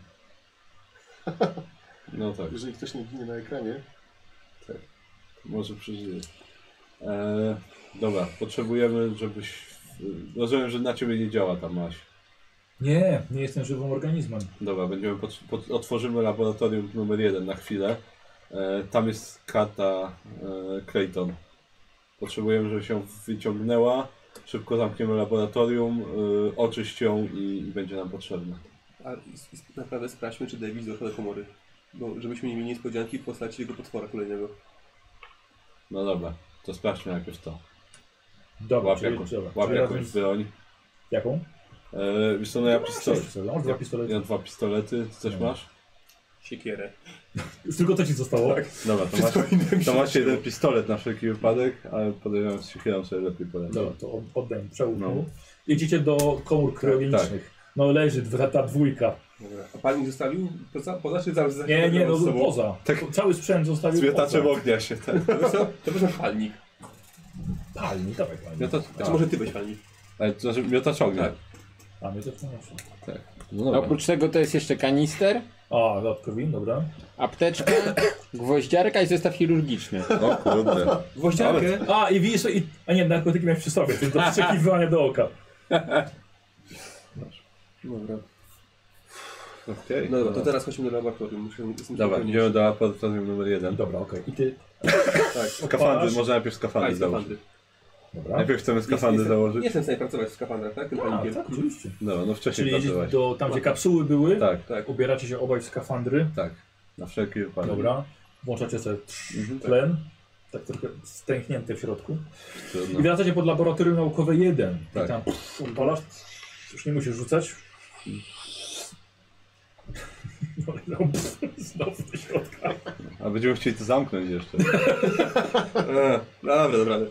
S2: No tak.
S3: Jeżeli ktoś nie ginie na ekranie,
S2: Może przeżyję. E, dobra, potrzebujemy, żebyś. Rozumiem, że na ciebie nie działa ta maś.
S1: Nie, nie jestem żywym organizmem.
S2: Dobra, będziemy pot, pot, otworzymy laboratorium numer jeden na chwilę. E, tam jest karta e, Clayton. Potrzebujemy, żeby się wyciągnęła. Szybko zamkniemy laboratorium, e, oczyść ją i, i będzie nam potrzebna.
S5: A i, i naprawdę sprawdźmy, czy Davis doszła do komory. Bo żebyśmy nie mieli niespodzianki w postaci jego potwora kolejnego.
S2: No dobra. To sprawdźmy najpierw to.
S1: Dobra,
S2: Łap
S1: czyli,
S2: jakąś,
S1: dobra,
S2: łap
S1: czyli
S2: jakąś
S1: razem z-
S2: broń.
S1: Jaką?
S2: E, wiesz co, no ja pistolet.
S1: Sześć, on dwa pistolety.
S2: Ja dwa pistolety, ty coś
S1: Nie.
S2: masz?
S5: Siekierę.
S1: Tylko to ci zostało.
S2: Dobra, to masz, to masz jeden pistolet na wszelki wypadek, ale podejrzewam, że siekierą sobie lepiej poradzi.
S1: Dobra, to od- oddam, przełóż.
S2: No. Tak.
S1: mu. Idziecie do komór kryogenicznych. No leży dwa, ta dwójka.
S5: Dobra. A pan mi zostawił? Poza, poza czy zaraz
S1: Nie, nie, no
S5: z sobą?
S1: poza.
S2: Tak.
S1: Cały sprzęt zostawił
S2: Zmiotaczem
S1: poza.
S2: ognia się, tak.
S5: To wiesz co? To wiesz co, palnik.
S1: Palni, dawaj palni.
S2: Miotacz,
S5: Znaczy może ty weź palnik.
S2: ale to znaczy miotacz ognia.
S5: Tak.
S1: A, my to wnoszę.
S2: No
S7: A
S2: dobra.
S7: Oprócz tego to jest jeszcze kanister,
S1: A, do krwi, dobra.
S7: apteczka, gwoździarka i zestaw chirurgiczny.
S2: Tak. O kurde.
S5: Gwoździarkę.
S1: A, i widzisz, i... a nie, narkotyki miałeś przy sobie, więc do przeczekiwania do oka.
S5: Dobra.
S2: Okej.
S5: No dobra, to teraz chodźmy do laboratorium. Muszę, jestem
S2: Dobra,
S5: pewien.
S2: idziemy do apartatorium numer jeden.
S1: Dobra, okej. I ty,
S5: Tak,
S2: Skafandy,
S1: Odpalasz?
S2: może najpierw skafandy
S5: tak,
S2: założyć.
S5: skafandy.
S1: dobra.
S2: Najpierw chcemy skafandy
S5: jestem,
S2: założyć.
S5: Nie jestem w stanie pracować w skafandrach, tak? Tym
S1: A,
S5: palnikiem.
S1: tak, oczywiście.
S2: Dobra, no wcześniej
S1: Czyli jedziesz
S2: pracować.
S1: do, tam, gdzie kapsuły były,
S2: Tak,
S5: Tak.
S1: ubieracie się obaj w skafandry,
S2: tak. Na wszelki wypadek.
S1: dobra. Włączacie sobie
S2: Mhm, tak.
S1: tlen, tak trochę stęchnięty w środku.
S2: Trudno.
S1: I wracacie pod laboratorium naukowe 1.
S2: No. Tak.
S1: I tam odpalasz, już nie musisz rzucać. No, i tam Znowu do środka.
S2: A będziemy chcieli to zamknąć jeszcze. E, no
S5: A, Dobra, dobra.
S1: Em,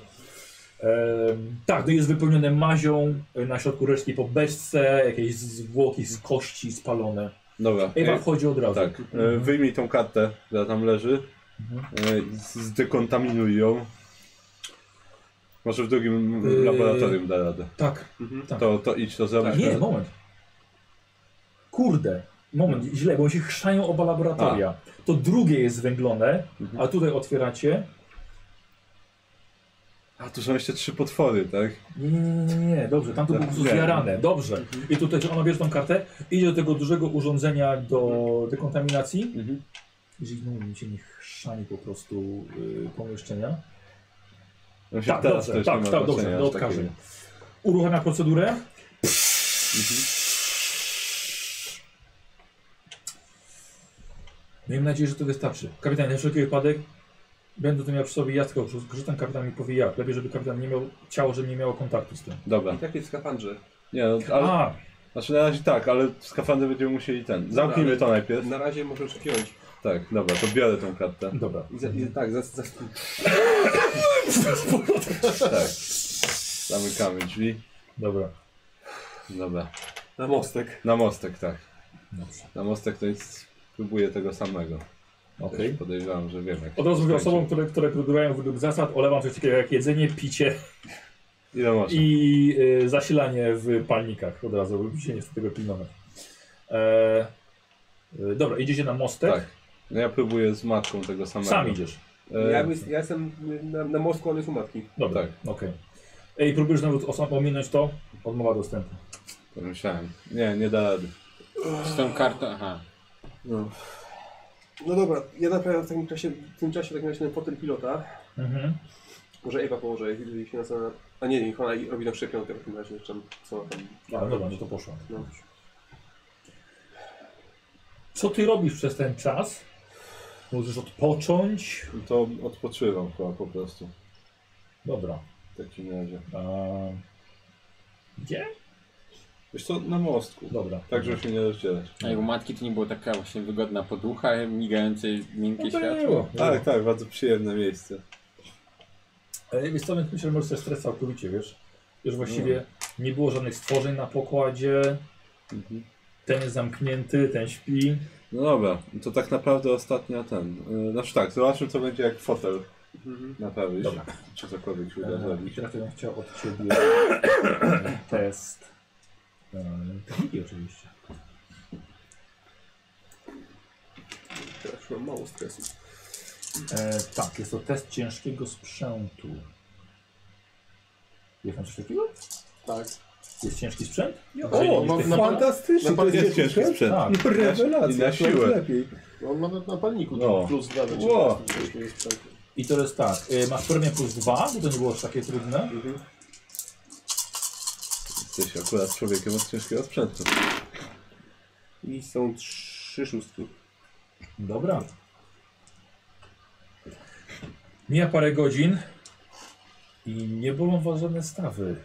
S1: tak, to jest wypełnione mazią, y, na środku resztki po beczce, jakieś zwłoki z kości spalone.
S2: Dobra.
S1: Ewa
S2: e,
S1: wchodzi od razu.
S2: Tak. E, Wyjmij tą kartę, która tam leży. E, i z- Zdekontaminuj ją. Może w drugim
S1: Yy.
S2: laboratorium da radę.
S1: Tak. Tak.
S2: To, to idź to zrobić.
S1: Nie, moment. Kurde, moment, źle, bo się chrzają oba laboratoria. To drugie jest zwęglone, a tutaj otwieracie.
S2: A tu są jeszcze trzy potwory, tak?
S1: Nie, nie, nie, nie, nie, dobrze, tam to było po prostu
S2: Nie.
S1: zjarane, dobrze. I tutaj ona bierze tą kartę, idzie do tego dużego urządzenia do dekontaminacji.
S2: Mhm.
S1: Jeżeli znowu mi się nie chrzani po prostu y, pomieszczenia.
S2: No się
S1: Tak,
S2: teraz
S1: dobrze,
S2: też nie
S1: tak,
S2: ma
S1: tak,
S2: znaczenia
S1: dobrze,
S2: aż
S1: to odkażę.
S2: takiego.
S1: Uruchamia procedurę. Miejmy nadzieję, że to wystarczy. Kapitan, na wszelki wypadek będę to miał przy sobie, ja tylko korzystam, kapitan mi powie jak. Lepiej, żeby kapitan nie miał ciało, żeby nie miało kontaktu z tym.
S2: Dobra.
S5: I tak jest w skafandrze.
S2: Nie, no, ale,
S1: A,
S2: znaczy na razie tak, ale skafandy będziemy musieli ten. Zamknijmy to najpierw.
S5: Na razie możesz piąć.
S2: Tak, dobra, to biorę tą kartę.
S1: dobra.
S5: I, za, i tak, za, za,
S2: Tak. Zamykamy drzwi.
S1: Dobra.
S2: Dobra.
S5: na mostek.
S2: Na mostek, tak.
S1: Dobrze.
S2: Na mostek to jest. Próbuję tego samego.
S1: Okej.
S2: Podejrzewam, że wiem jak.
S1: Od razu mówię
S2: skończy.
S1: osobom, które, które produkują według zasad, olewam coś takiego jak jedzenie, picie
S2: Ile masz?
S1: i y, zasilanie w palnikach od razu, bo musicie niestety tego pilnować. E, y, dobra, idziecie na mostek.
S2: Tak. No ja próbuję z matką tego samego.
S1: Sam idziesz.
S2: E,
S5: Ja, bym- ja jestem na, na mostku, on jest u matki.
S1: Dobra,
S2: Tak.
S1: okej. Ej, próbujesz nawet osa- ominąć to? Odmowa dostępu.
S2: to Myślałem. Nie, nie da rady.
S7: Z tą kartą, aha.
S5: No dobra, ja naprawiam w takim czasie, w tym czasie w takim razie ten fotel pilota.
S1: Mhm.
S5: Może Ewa położy, jeżeli się nas... na- A nie, niech ona robi na szczepionkę w takim razie, jeszcze co ona tam...
S2: Tak.
S1: A, dobra, no to poszło.
S5: No.
S1: Co ty robisz przez ten czas? Możesz odpocząć.
S2: No To odpoczywam chyba po prostu.
S1: Dobra.
S2: W takim razie.
S1: A... Gdzie?
S2: Wiesz co, na mostku.
S1: Dobra.
S2: Tak, żeby się nie rozdzielać.
S7: A jego matki to nie było taka właśnie wygodna poducha, migające miękkie
S1: No
S7: światło.
S1: było.
S2: Tak, tak, bardzo przyjemne miejsce.
S1: Ale E, wiesz co, więc myślę, że możesz sobie stres całkowicie, wiesz? Już
S3: Mm.
S1: właściwie nie było żadnych stworzeń na pokładzie.
S3: Mhm.
S1: Ten jest zamknięty, ten śpi.
S2: No dobra, to tak naprawdę ostatnia ten. Yy, znaczy tak, zobaczmy co będzie jak fotel naprawisz.
S1: Dobra.
S2: Czy cokolwiek się uda
S1: Eee, I
S2: zrobić.
S1: teraz ja bym chciał od ciebie test. Eee, Techniki oczywiście.
S5: Teraz mam mało stresu.
S1: E, tak, jest to test ciężkiego sprzętu. Jest tam coś takiego?
S3: Tak.
S1: Jest ciężki sprzęt?
S3: O,
S1: no
S3: mam na, pan,
S5: Fantastycznie!
S3: na, pan,
S2: no Jest ciężki sprzęt.
S1: Tak.
S2: I na siłę.
S5: lepiej.
S3: on ma no, na, na palniku
S2: No.
S3: plus dwa do
S2: Ło.
S3: 14.
S1: I to jest tak. E, masz premię plus dwa, bo to nie było aż takie trudne.
S2: Jesteś akurat człowiekiem od ciężkiego sprzętu.
S5: I są trzy szóstki.
S1: Dobra. Mija parę godzin. I nie bolą was żadne stawy.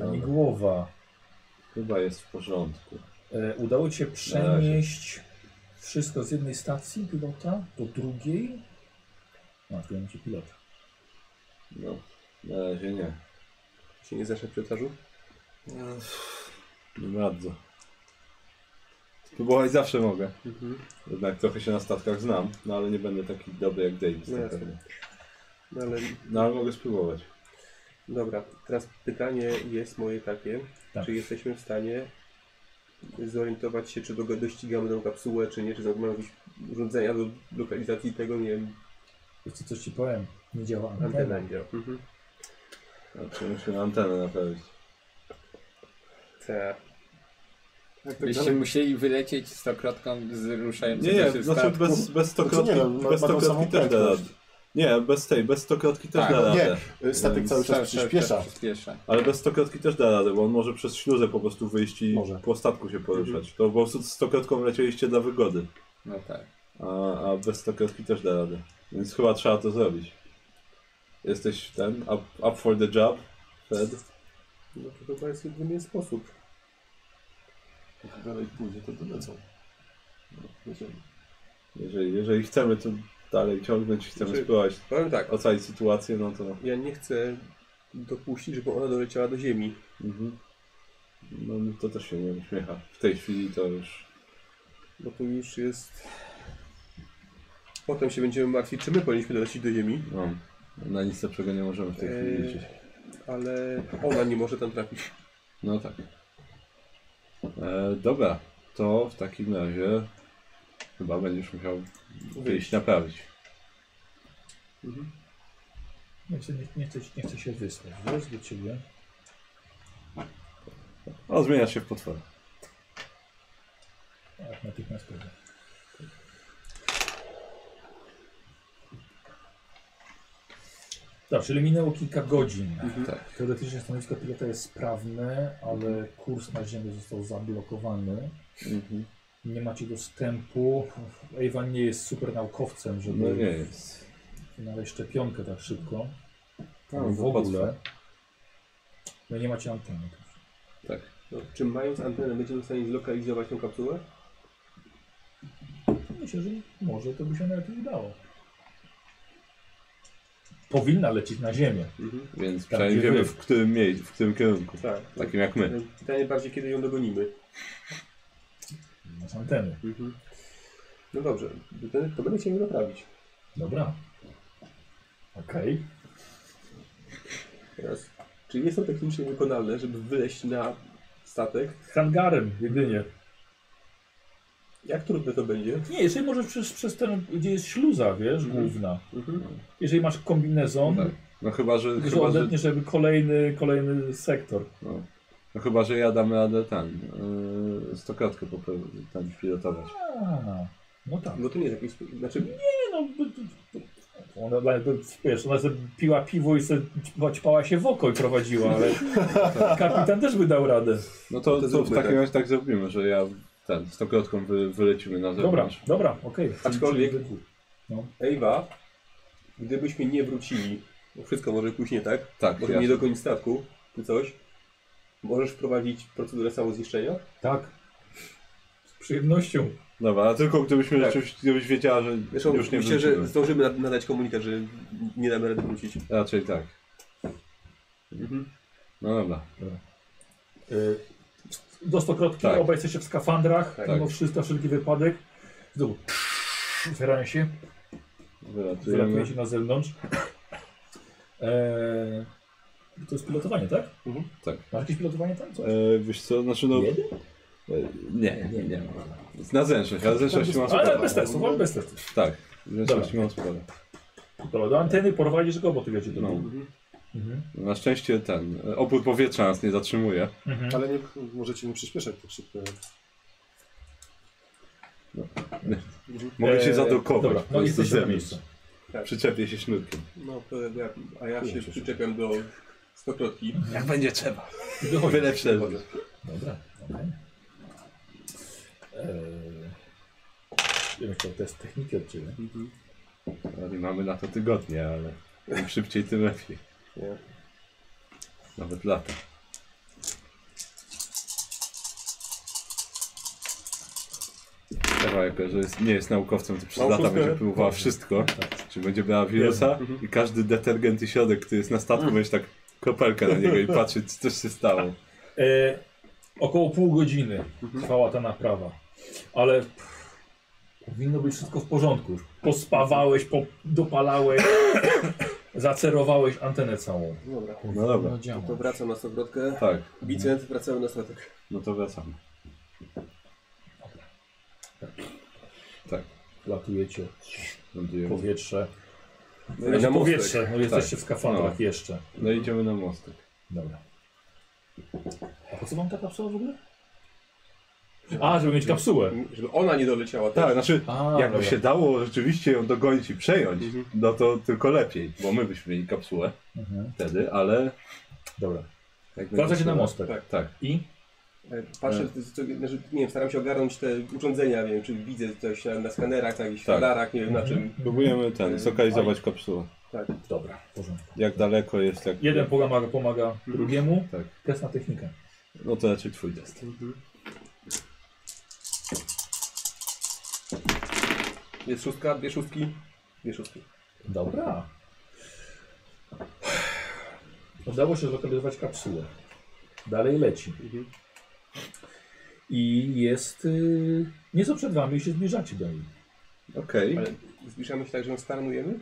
S1: Ani głowa.
S2: Chyba jest w porządku.
S1: E, udało ci się przenieść wszystko z jednej stacji pilota do drugiej? No, tu macie pilota.
S2: No, na razie nie.
S5: Się nie zaszedł pilotażu?
S3: No.
S2: Nie bardzo. Próbować zawsze mogę.
S3: Mhm.
S2: Jednak trochę się na statkach znam, no ale nie będę taki dobry jak Davis
S5: No
S2: na
S5: jasne.
S2: pewno.
S5: No ale
S2: No ale mogę spróbować.
S5: dobra, teraz pytanie jest moje takie.
S1: Tak.
S5: Czy jesteśmy w stanie zorientować się, czy dogo- dościgamy tą kapsułę, czy nie, czy mamy jakieś urządzenia do lokalizacji tego, nie wiem,
S1: Wiesz co, coś ci powiem? Nie działa
S5: antena
S1: antena.
S5: nie działa. Mhm.
S2: Znaczy musimy antenę naprawić.
S5: Tak.
S3: Tak
S4: Byście musieli wylecieć stokrotką z ruszającego
S2: Nie, nie,
S4: się
S2: znaczy
S4: statku.
S2: bez, bez stokrotki,
S3: Znaczy nie, no,
S2: bez
S3: ma- ma tą
S2: stokrotki
S3: samą
S2: też da radę.
S3: prędkość. no
S2: Nie, bez tej, bez stokrotki też
S4: Tak,
S2: da radę.
S3: nie. e, Statek cały czas
S4: Cały czas
S3: przyspiesza.
S4: przyspiesza.
S2: Ale bez stokrotki też da radę, bo on może przez śluzę po prostu wyjść i
S3: Może. Mhm.
S2: po statku się poruszać. To po prostu z stokrotką lecieliście dla wygody,
S4: No tak.
S2: a, a bez stokrotki też da radę. Więc chyba trzeba to zrobić. Jesteś ten, up, up for the job, Fred?
S5: No to chyba jest jedyny sposób.
S3: Jak dalej pójdzie, to dolecą. No,
S2: Jeżeli, jeżeli chcemy to dalej ciągnąć, chcemy
S5: Znaczy-
S2: spróbować
S5: Powiem tak,
S2: ocalić sytuację, no to...
S5: ja nie chcę dopuścić, żeby ona doleciała do ziemi.
S2: Mhm. No mi to też się nie uśmiecha. W tej chwili to już...
S5: Bo tu już jest. Potem się będziemy martwić, czy my powinniśmy dolecieć do ziemi,
S2: No, na nic lepszego nie możemy w tej chwili
S5: Eee.
S2: liczyć.
S5: ale ona nie może tam trafić.
S2: No tak. E, dobra, to w takim razie chyba będziesz musiał wyjść naprawić.
S1: Nie chcę, nie, nie, chcę, nie chcę się wysłać. Wróć do ciebie.
S2: O, zmieniasz się w potwora.
S1: Tak, natychmiast powiem. Tak, czyli minęło kilka godzin.
S2: Tak.
S1: Teoretycznie stanowisko pilota jest sprawne, ale kurs na ziemię został zablokowany.
S2: Mhm.
S1: Nie macie dostępu. Ewan nie jest super naukowcem, żeby
S2: No nie jest.
S1: znaleźć szczepionkę tak szybko.
S2: No,
S1: w ogóle. No nie macie anteny.
S2: Tak.
S5: No, czy mając antenę będziemy w stanie zlokalizować tą kapsułę?
S1: Myślę, że może to by się nawet i udało. Powinna lecieć na ziemię.
S2: Więc
S1: Tak,
S2: przynajmniej wiemy
S1: dziękuję.
S2: w którym miejscu, w którym kierunku.
S5: Tak.
S2: Takim jak my.
S5: Pytanie bardziej, kiedy ją dogonimy.
S1: Masz anteny.
S5: Mhm. No dobrze, to, to będę chciał ją naprawić.
S1: Dobra. Okej.
S5: Teraz, czy jest to technicznie wykonalne, żeby wyleść na statek?
S1: Hangarem jedynie.
S5: Jak trudne to będzie?
S1: Nie, jeżeli możesz przez, przez ten, gdzie jest śluza, wiesz, główna. Jeżeli masz kombinezon,
S2: Mhm. Tak. No chyba, że,
S1: że
S2: chyba, że,
S1: odetniesz żeby kolejny, kolejny sektor.
S2: no, no chyba, że ja dam radę ten, yy, stokrotkę po, ten pilotować.
S1: A, no tak.
S5: No to nie jest jakieś... Znaczy,
S1: Nie no, b- b- b- ona, dla- b- wiesz, ona sobie piła piwo i sobie ćpa- ćpała się w oko i prowadziła, ale kapitan też by dał radę.
S2: No to, to, w
S5: zróbmy
S2: takim
S5: tak.
S2: razie tak zrobimy, że ja ten, stokrotką wy, wylecimy na
S1: Dobra,
S2: zewnątrz.
S1: dobra, okej. Okay.
S5: Aczkolwiek- Ewa, gdybyśmy nie wrócili, bo wszystko może pójść nie tak,
S2: Tak,
S5: może nie
S2: jasne.
S5: dogonić statku czy coś, możesz wprowadzić procedurę samozniszczenia?
S1: Tak. Z przyjemnością.
S2: Dobra, ale tylko gdybyśmy
S5: Tak.
S2: rzeczywiście, gdybyś wiedziała, że
S5: Zresztą
S2: już nie
S5: myślę,
S2: wrócimy.
S5: że zdążymy nad- nadać komunikat, że nie damy rady wrócić.
S2: Raczej tak. No dobra.
S1: Y, Do stokrotki,
S2: Tak.
S1: obaj jesteście w skafandrach,
S2: Tak.
S1: mimo wszystko, wszelki wypadek. W dół. Otwierają się,
S2: Wylatujemy.
S1: wylatuje się na zewnątrz. Eee, to jest pilotowanie, tak?
S2: Tak.
S1: Masz jakieś pilotowanie tam? Coś?
S2: E, wiesz co, znaczy no...
S1: Jeden?
S2: E, nie, nie, nie. Na zęczność, ale zęczności mam
S1: Ale
S2: sporo.
S1: bez testów, ale bez testów.
S2: Tak, zęczności mam sporo.
S1: Dobra, do anteny porwalisz go, bo ty wiecie, to
S2: No.
S1: Mhm.
S2: Na szczęście ten, e, opór powietrza nas nie zatrzymuje.
S3: Ale nie, możecie nie przyspieszać tak szybko.
S2: Mogę się
S1: Eee,
S2: zadokować,
S1: Dobra,
S2: po
S1: no
S2: prostu
S1: jesteśmy na
S2: zemść.
S1: miejscu.
S2: Przyczepię się sznurkiem.
S5: No, to ja, a ja się przyczepiam do stokrotki.
S2: Jak będzie trzeba.
S1: I dochodzi.
S2: Byle przeżyć.
S1: Dobra, okej. Eee, ja bym chciał test techniki od ciebie.
S2: No, Nie mamy na to tygodnie, ale... Im szybciej, tym lepiej.
S5: Nie.
S2: Nawet lata. Ewa, jako że jest, nie jest naukowcem, to przez
S5: Naukowcem. Mhm.
S2: lata będzie próbowała wszystko. Czy będzie brała wirusa i każdy detergent i środek, który jest na statku, będzie tak kropelkę na niego i patrzeć, co też się stało.
S1: E, około pół godziny trwała ta naprawa, ale pff, powinno być wszystko w porządku. już. Pospawałeś, po, dopalałeś, zacerowałeś antenę całą.
S5: Dobra.
S2: No dobra,
S1: działa.
S5: To wracam na stokrotka.
S2: tak,
S5: Bicent, wracamy na statek.
S2: no to wracamy. Tak,
S1: Latujecie,
S2: lądujemy.
S1: powietrze.
S5: No
S1: No powietrze, no jesteście w skafandrach
S2: No.
S1: jeszcze.
S2: No idziemy na mostek.
S1: Dobra. A po co mam ta kapsuła w ogóle? A, żeby mieć kapsułę.
S5: Żeby ona nie doleciała
S2: Tak,
S5: też.
S2: znaczy,
S1: A,
S2: jakby
S1: dobra.
S2: się dało rzeczywiście ją dogonić i przejąć, no to tylko lepiej, bo my byśmy mieli kapsułę
S1: Mhm.
S2: wtedy, ale...
S1: Dobra.
S2: jak
S1: Wracacie
S2: będzie-
S1: na mostek.
S5: Tak.
S2: Tak,
S1: I?
S5: E, Patrzę, co, znaczy, nie wiem, staram się ogarnąć te urządzenia, nie wiem, czy widzę coś na, na skanerach, na jakichś
S2: Tak.
S5: radarach, nie wiem na czym.
S2: próbujemy ten, zlokalizować kapsułę.
S1: Dobra, w porządku.
S2: Jak daleko jest, jak...
S1: Jeden pomaga, pomaga drugiemu.
S2: Tak.
S1: Test na technikę.
S2: No to raczej twój test.
S5: Jest szóstka, dwie szóstki, dwie szóstki.
S1: Dobra. Udało się zlokalizować kapsułę. Dalej leci.
S2: Mhm.
S1: I jest y, nieco przed wami i się zbliżacie do niej.
S2: Okej.
S5: Ale zbliżamy się tak, że ją starnujemy?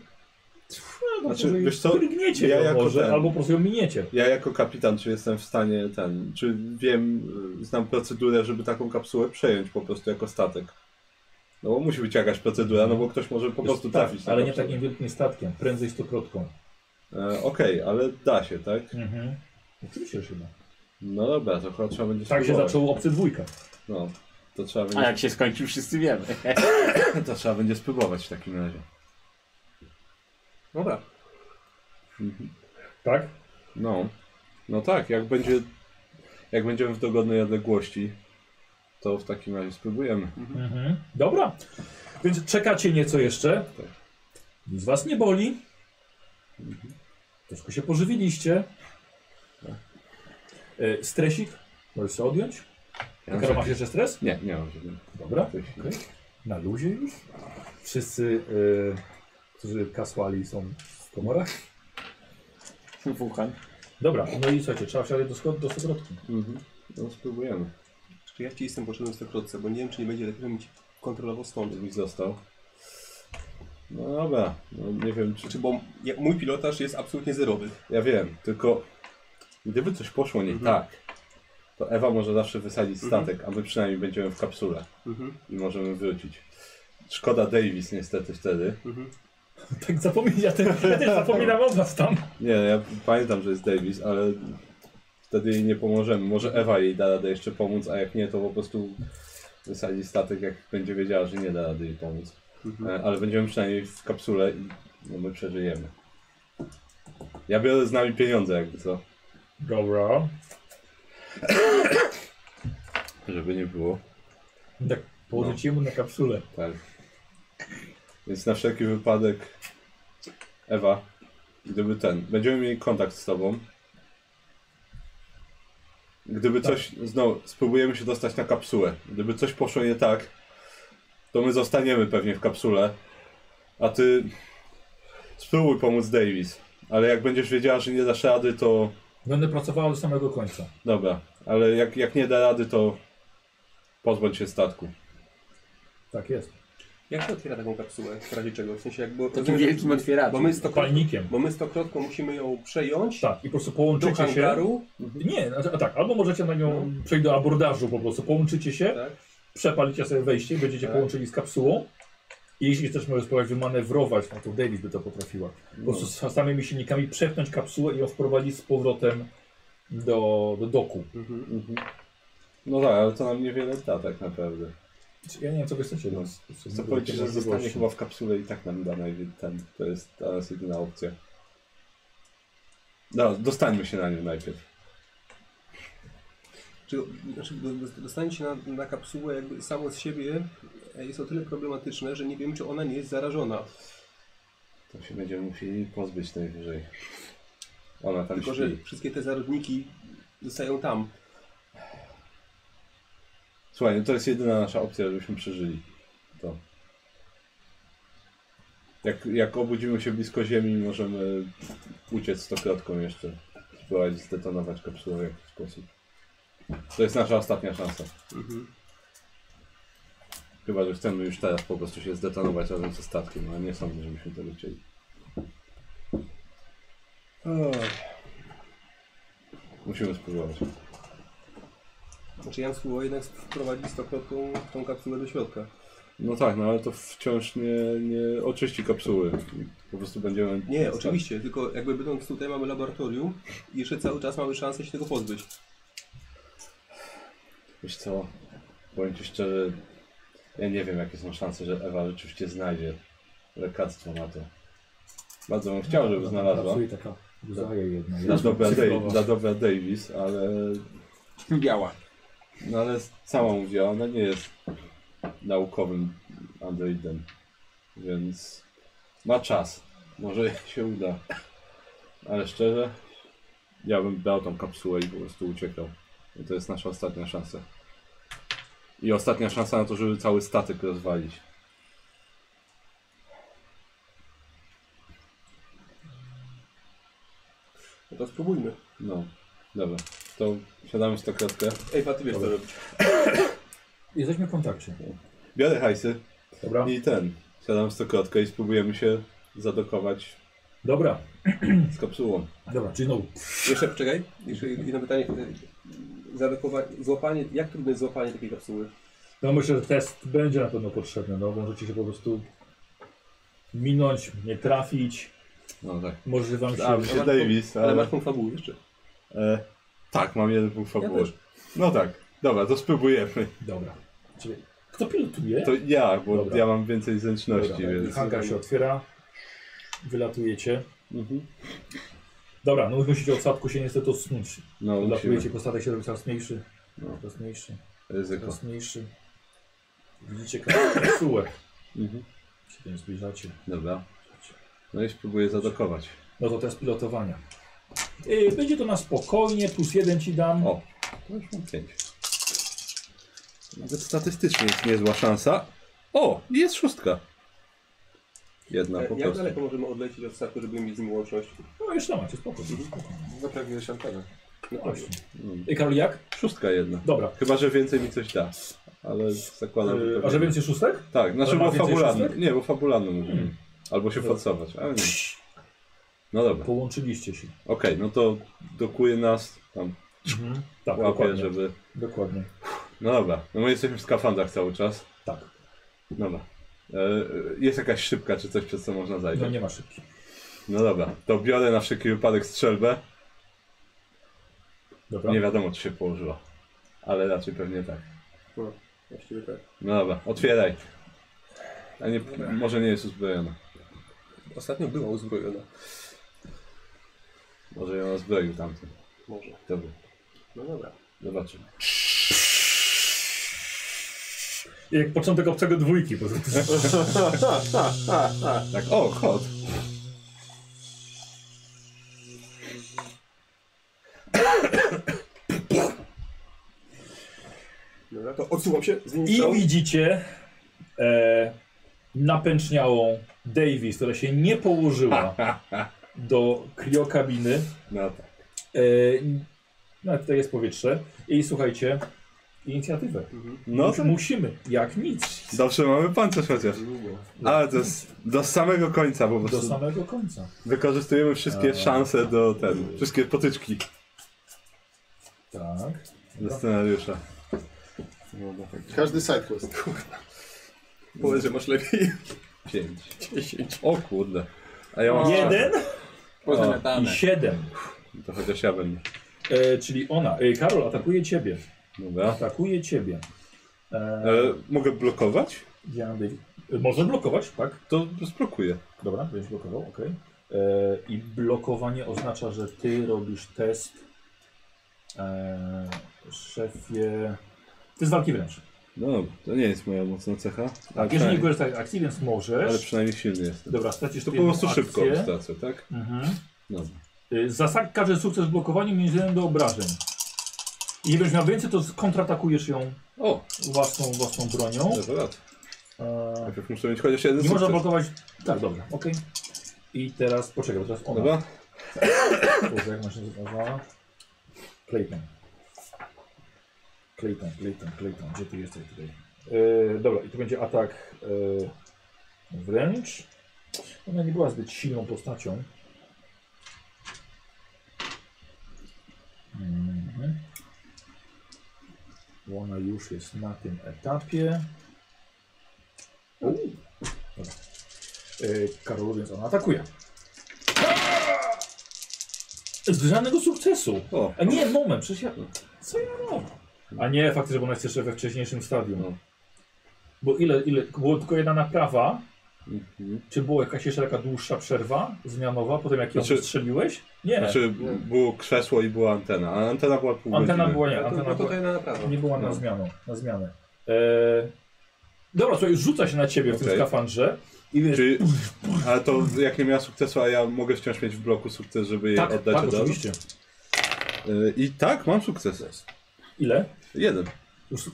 S1: No,
S2: Znaczy,
S1: może
S2: wiesz co,
S1: Drgniecie
S2: ja
S1: ją
S2: jako
S1: może,
S2: ten-
S1: albo po prostu ją miniecie.
S2: Ja jako kapitan, czy jestem w stanie ten, czy wiem, y, znam procedurę, żeby taką kapsułę przejąć po prostu jako statek? No bo musi być jakaś procedura, no bo ktoś może po prostu
S1: tak,
S2: trafić na
S1: ale nie
S2: kapsułę.
S1: takim wielkim statkiem, prędzej stokrotką.
S2: E, Okej, ale da się, tak?
S1: Mhm. Oczywiście chyba.
S2: No dobra, to chyba trzeba będzie
S1: Tak się
S2: spróbować.
S1: zaczęło obcy dwójka.
S2: No, to trzeba
S7: A
S2: będzie,
S7: jak się skończy, wszyscy wiemy.
S2: to trzeba będzie spróbować w takim razie.
S5: Dobra.
S1: Tak?
S2: No, no tak, jak będzie, jak będziemy w dogodnej odległości, to w takim razie spróbujemy.
S1: Mhm. Dobra. Więc czekacie nieco jeszcze.
S2: Tak.
S1: Nic was nie boli. Troszkę się pożywiliście. E, Stresik możesz sobie odjąć.
S2: Ja
S1: Karol,
S2: na-
S1: masz jeszcze stres?
S2: Nie, nie mam żadnego.
S1: Dobra.
S2: Tej chwili.
S1: Okej. Na luzie już. Wszyscy, e, którzy kasłali są w komorach.
S7: Wuhan.
S1: Dobra, no i słuchajcie, trzeba wsiadać do, sko- do Sobrotki.
S2: Mhm. No spróbujemy.
S5: Czy ja ci jestem potrzebny w stokrotce, bo nie wiem, czy nie będzie lepiej, żebym ci kontrolował stąd.
S2: Gdybyś został. No dobra, no nie wiem czy...
S5: Czy Znaczy, bo ja, mój pilotaż jest absolutnie zerowy.
S2: Ja wiem, tylko gdyby coś poszło nie tak, to Ewa może zawsze wysadzić statek, a my przynajmniej będziemy w kapsule i możemy wrócić. Szkoda Davis niestety wtedy.
S1: Tak zapominam, ja, te, ja też zapominam o was tam.
S2: Nie, no ja pamiętam, że jest Davis, ale wtedy jej nie pomożemy. Może Ewa jej da radę jeszcze pomóc, a jak nie, to po prostu wysadzi statek, jak będzie wiedziała, że nie da rady jej pomóc. E, Ale będziemy przynajmniej w kapsule i no, my przeżyjemy. Ja biorę z nami pieniądze jakby co,
S1: Dobra.
S2: żeby nie było.
S1: Tak położycie mu na kapsulę.
S2: Tak. Więc na wszelki wypadek, Ewa, gdyby ten, będziemy mieli kontakt z tobą. Gdyby coś, znowu, spróbujemy się dostać na kapsułę. Gdyby coś poszło nie tak, to my zostaniemy pewnie w kapsule. A ty spróbuj pomóc Davis. Ale jak będziesz wiedziała, że nie dasz rady, to
S1: Będę pracowała do samego końca.
S2: dobra. Ale jak, jak nie da rady, to pozbądź się statku.
S1: Tak jest.
S5: Jak się otwiera taką kapsułę w razie czego? W sensie jakby...
S7: Takim wielkim
S5: Bo
S7: otwieraczem.
S5: my, stokrotką,
S1: Palnikiem.
S5: bo my stokrotką musimy ją przejąć
S1: Tak, i po prostu
S5: do
S1: połączycie się.
S5: hangaru.
S1: Nie, znaczy, a tak, albo możecie na nią przejść do abordażu po prostu. Połączycie się,
S5: Tak.
S1: przepalicie sobie wejście, będziecie połączeni z kapsułą. I jeśli też może spróbować wymanewrować, no to Davis by to potrafiła. Po prostu z samymi silnikami przepchnąć kapsułę i ją wprowadzić z powrotem do, do doku.
S2: No tak, ale to nam niewiele da tak naprawdę.
S1: Ja nie wiem, co wy chcecie.
S2: No,
S1: No,
S2: Chcę powiedzieć, że zostanie chyba w kapsule i tak nam da najwy- ten. To jest teraz jedyna opcja. No, dostańmy się na nią najpierw.
S5: Czy, znaczy, do- do- dostanie się na, na kapsułę jakby samo z siebie e, jest o tyle problematyczne, że nie wiem, czy ona nie jest zarażona.
S2: To się będziemy musieli pozbyć najwyżej. Ona tam
S5: Tylko,
S2: śpi.
S5: że wszystkie te zarodniki zostają tam.
S2: Słuchaj, no to jest jedyna nasza opcja, żebyśmy przeżyli. To. Jak, jak obudzimy się blisko ziemi, możemy uciec stokrotką jeszcze. Spróbować zdetonować kapsułę w jakiś sposób. To jest nasza ostatnia szansa.
S5: Mhm.
S2: Chyba, że chcemy już teraz po prostu się zdetonować razem ze statkiem, ale nie sądzę, żebyśmy tego chcieli. Musimy spróbować.
S5: Znaczy Jan spróbował jednak wprowadzić stokrotką tą kapsułę do środka.
S2: No tak, no ale to wciąż nie, nie oczyści kapsuły. Po prostu będziemy...
S5: Nie,
S7: Tak.
S5: oczywiście, tylko jakby będąc tutaj mamy laboratorium i jeszcze cały czas mamy szansę się tego pozbyć.
S2: Wiesz co, powiem Ci szczerze, ja nie wiem jakie są szanse, że Ewa rzeczywiście znajdzie lekarstwo na to. Bardzo bym chciał, żeby znalazła.
S1: Pracuje taka łzaja jedna.
S2: Dla dobra, Dej-
S1: cyfrowa.
S2: dla dobra Davis, ale,
S4: Biała.
S2: no ale sama mówiła, ona nie jest naukowym androidem, więc ma czas. Może się uda. Ale szczerze, ja bym dał tą kapsułę i po prostu uciekał. I to jest nasza ostatnia szansa. I ostatnia szansa na to, żeby cały statek rozwalić.
S5: No to spróbujmy.
S2: No, dobra. To siadamy w stokrotkę.
S5: Ej, ty wiesz co robić.
S1: Jesteśmy w kontakcie.
S2: Biorę hajsy
S1: Dobra?
S2: i ten. Siadam w stokrotkę i spróbujemy się zadokować
S1: Dobra,
S2: z kapsułą.
S1: dobra, czyli no,
S5: Jeszcze poczekaj, jeszcze jedno pytanie. Zadokowa- Złapanie, jak trudne jest złapanie takiej kapsuły?
S1: no myślę, że test będzie na pewno potrzebny, no bo możecie się po prostu minąć, nie trafić,
S2: No tak.
S1: może wam się...
S2: A, mi się Davis,
S5: Ale
S2: ale...
S5: masz tą fabułę jeszcze.
S2: E, tak, mam jeden punkt
S5: Ja
S2: fabuły.
S5: też.
S2: No tak. Dobra, to spróbujemy.
S1: Dobra. Czyli kto pilotuje?
S2: To ja, bo
S1: Dobra.
S2: ja mam więcej zręczności,
S1: Dobra,
S2: więc...
S1: Hangar się otwiera, wylatujecie.
S2: Mhm.
S1: Dobra, no musicie od statku się niestety odsunąć.
S2: No, musimy.
S1: Wylatujecie, bo statek się robi coraz mniejszy,
S2: No.
S1: coraz mniejszy,
S2: Ryzyko.
S1: coraz mniejszy. Widzicie kapsułę,
S2: Mhm.
S1: się tym zbliżacie.
S2: Dobra. No i spróbuję zadokować.
S1: No to test pilotowania. Yy, będzie to na spokojnie, plus jeden ci dam.
S2: O, to już mam pięć. Nawet statystycznie jest niezła szansa. O, jest szóstka. Jedna po
S5: E, jak
S2: prostu.
S5: daleko możemy odlecieć od statku, żeby mieć z nim łączność?
S1: No jeszcze macie, spokojnie.
S2: Mhm. tak,
S5: Zapewne szantana. No właśnie.
S1: Właśnie. Yy, Karol, jak?
S2: Szóstka jedna.
S1: Dobra.
S2: Chyba, że więcej mi coś da. Ale zakładam. że
S1: Yy,
S2: to
S1: a że
S2: nie.
S1: więcej szóstek?
S2: Tak, znaczy
S1: Ale ma
S2: bo
S1: więcej
S2: fabularny.
S1: szóstek? Hmm.
S2: Nie, bo fabularny mówimy. Albo się
S1: Dobra.
S2: forsować, ale nie. No dobra. Okej,
S1: Połączyliście się.
S2: no to dokuje nas, tam
S1: Tak,
S2: łapie,
S1: dokładnie.
S2: żeby.
S1: Dokładnie.
S2: No dobra. No my jesteśmy w skafandrach cały czas. No
S1: Tak.
S2: Dobra. E, Jest jakaś szybka czy coś, przez co można zajrzeć?
S1: No nie ma szybki.
S2: No dobra, to biorę na wszelki wypadek strzelbę.
S1: Dobra.
S2: Nie wiadomo, czy się położyła. Ale raczej pewnie tak.
S5: No, właściwie tak.
S2: No dobra, otwieraj. A nie, może nie jest uzbrojona.
S5: Ostatnio była uzbrojona.
S2: Może ją uzbroił tamten.
S5: Może.
S2: Dobra,
S5: No dobra.
S2: zobaczymy.
S1: Jak początek obcego dwójki. Po prostu.
S2: Tak, o, kot.
S5: Dobra, to odsuwam się z nim
S1: I widzicie e, napęczniałą Davis, która się nie położyła do kriokabiny.
S2: No tak.
S1: E, no tutaj jest powietrze. I słuchajcie, inicjatywę.
S2: No
S1: Już
S2: to
S1: musimy, jak nic.
S2: dobrze, mamy pancerz chociaż. Ale to jest do samego końca po
S1: Do
S2: prostu.
S1: samego końca.
S2: Wykorzystujemy wszystkie
S1: A.
S2: szanse do ten, wszystkie potyczki
S1: Tak.
S2: do scenariusza. No tak.
S3: Każdy sidequest.
S5: Powiedz, że masz lepiej.
S2: Pięć. O kurde. A ja mam...
S1: Jeden i
S4: Pozamiatane.
S1: siedem.
S2: To chociaż ja będę.
S1: E, czyli ona. E, Karol atakuje ciebie.
S2: Dobra.
S1: Atakuje ciebie. E,
S2: E, mogę blokować?
S1: ja mam Davis. E, Może blokować, tak?
S2: To zblokuję.
S1: Dobra, będziesz blokował, ok. E, I blokowanie oznacza, że ty robisz test. E, szefie. To jest walki wręcz.
S2: No dobra, to nie jest moja mocna cecha. Ale,
S1: Tak, Jeżeli nie
S2: przynajmniej,
S1: korzystasz z akcji, więc możesz.
S2: Tak, ale przynajmniej silny jestem.
S1: Dobra, stracisz
S2: to po
S1: jedną
S2: prostu szybko
S1: akcję.
S2: stracę, tak?
S1: Mhm.
S2: Dobra.
S1: Y, Zasad każe sukces w blokowaniu między jednym do obrażeń. I jeżeli miał więcej, to kontratakujesz ją
S2: O,
S1: własną, własną bronią.
S2: level up.
S1: E,
S2: Najpierw muszę mieć chociaż jeden
S1: nie można
S2: sukces.
S1: blokować. Tak, dobra, okej. I teraz poczekaj, bo teraz ona.
S2: Dobra?
S1: Kurde, jak ona się nazywała? Clayton. Clayton, Clayton, Clayton. Gdzie ty jesteś tutaj? E, dobra, i to będzie atak e, wręcz. Ona nie była zbyt silną postacią. Mhm. Bo Ona już jest na tym etapie. U. Dobra. E, Karolu, więc ona atakuje. Z żadnego sukcesu.
S2: O,
S1: A nie, moment, przecież ja... Co ja robię? A nie, faktycznie, bo ona jest jeszcze we wcześniejszym stadium.
S2: No.
S1: Bo ile, ile, było tylko jedna naprawa,
S2: mhm.
S1: czy była jakaś jeszcze taka dłuższa przerwa zmianowa, potem jak ją
S2: Znaczy-
S1: strzeliłeś? Nie,
S2: Znaczy było krzesło i była antena, a antena była pół
S1: antena
S2: godziny.
S1: była nie,
S5: No To, to, tak-
S1: antena była,
S5: tutaj na naprawę.
S1: nie była na
S2: No.
S1: zmianę. Na zmianę. E... Dobra, słuchaj, rzuca się na ciebie w tym
S2: Okej.
S1: skafandrze i wiesz,
S2: Czy, ale to jak nie miała sukcesu, a ja mogę wciąż mieć w bloku sukces, żeby je
S1: tak,
S2: oddać
S1: tak,
S2: od razu?
S1: oczywiście.
S2: Y, I tak, mam sukces.
S1: Ile?
S2: Jeden.
S1: Już...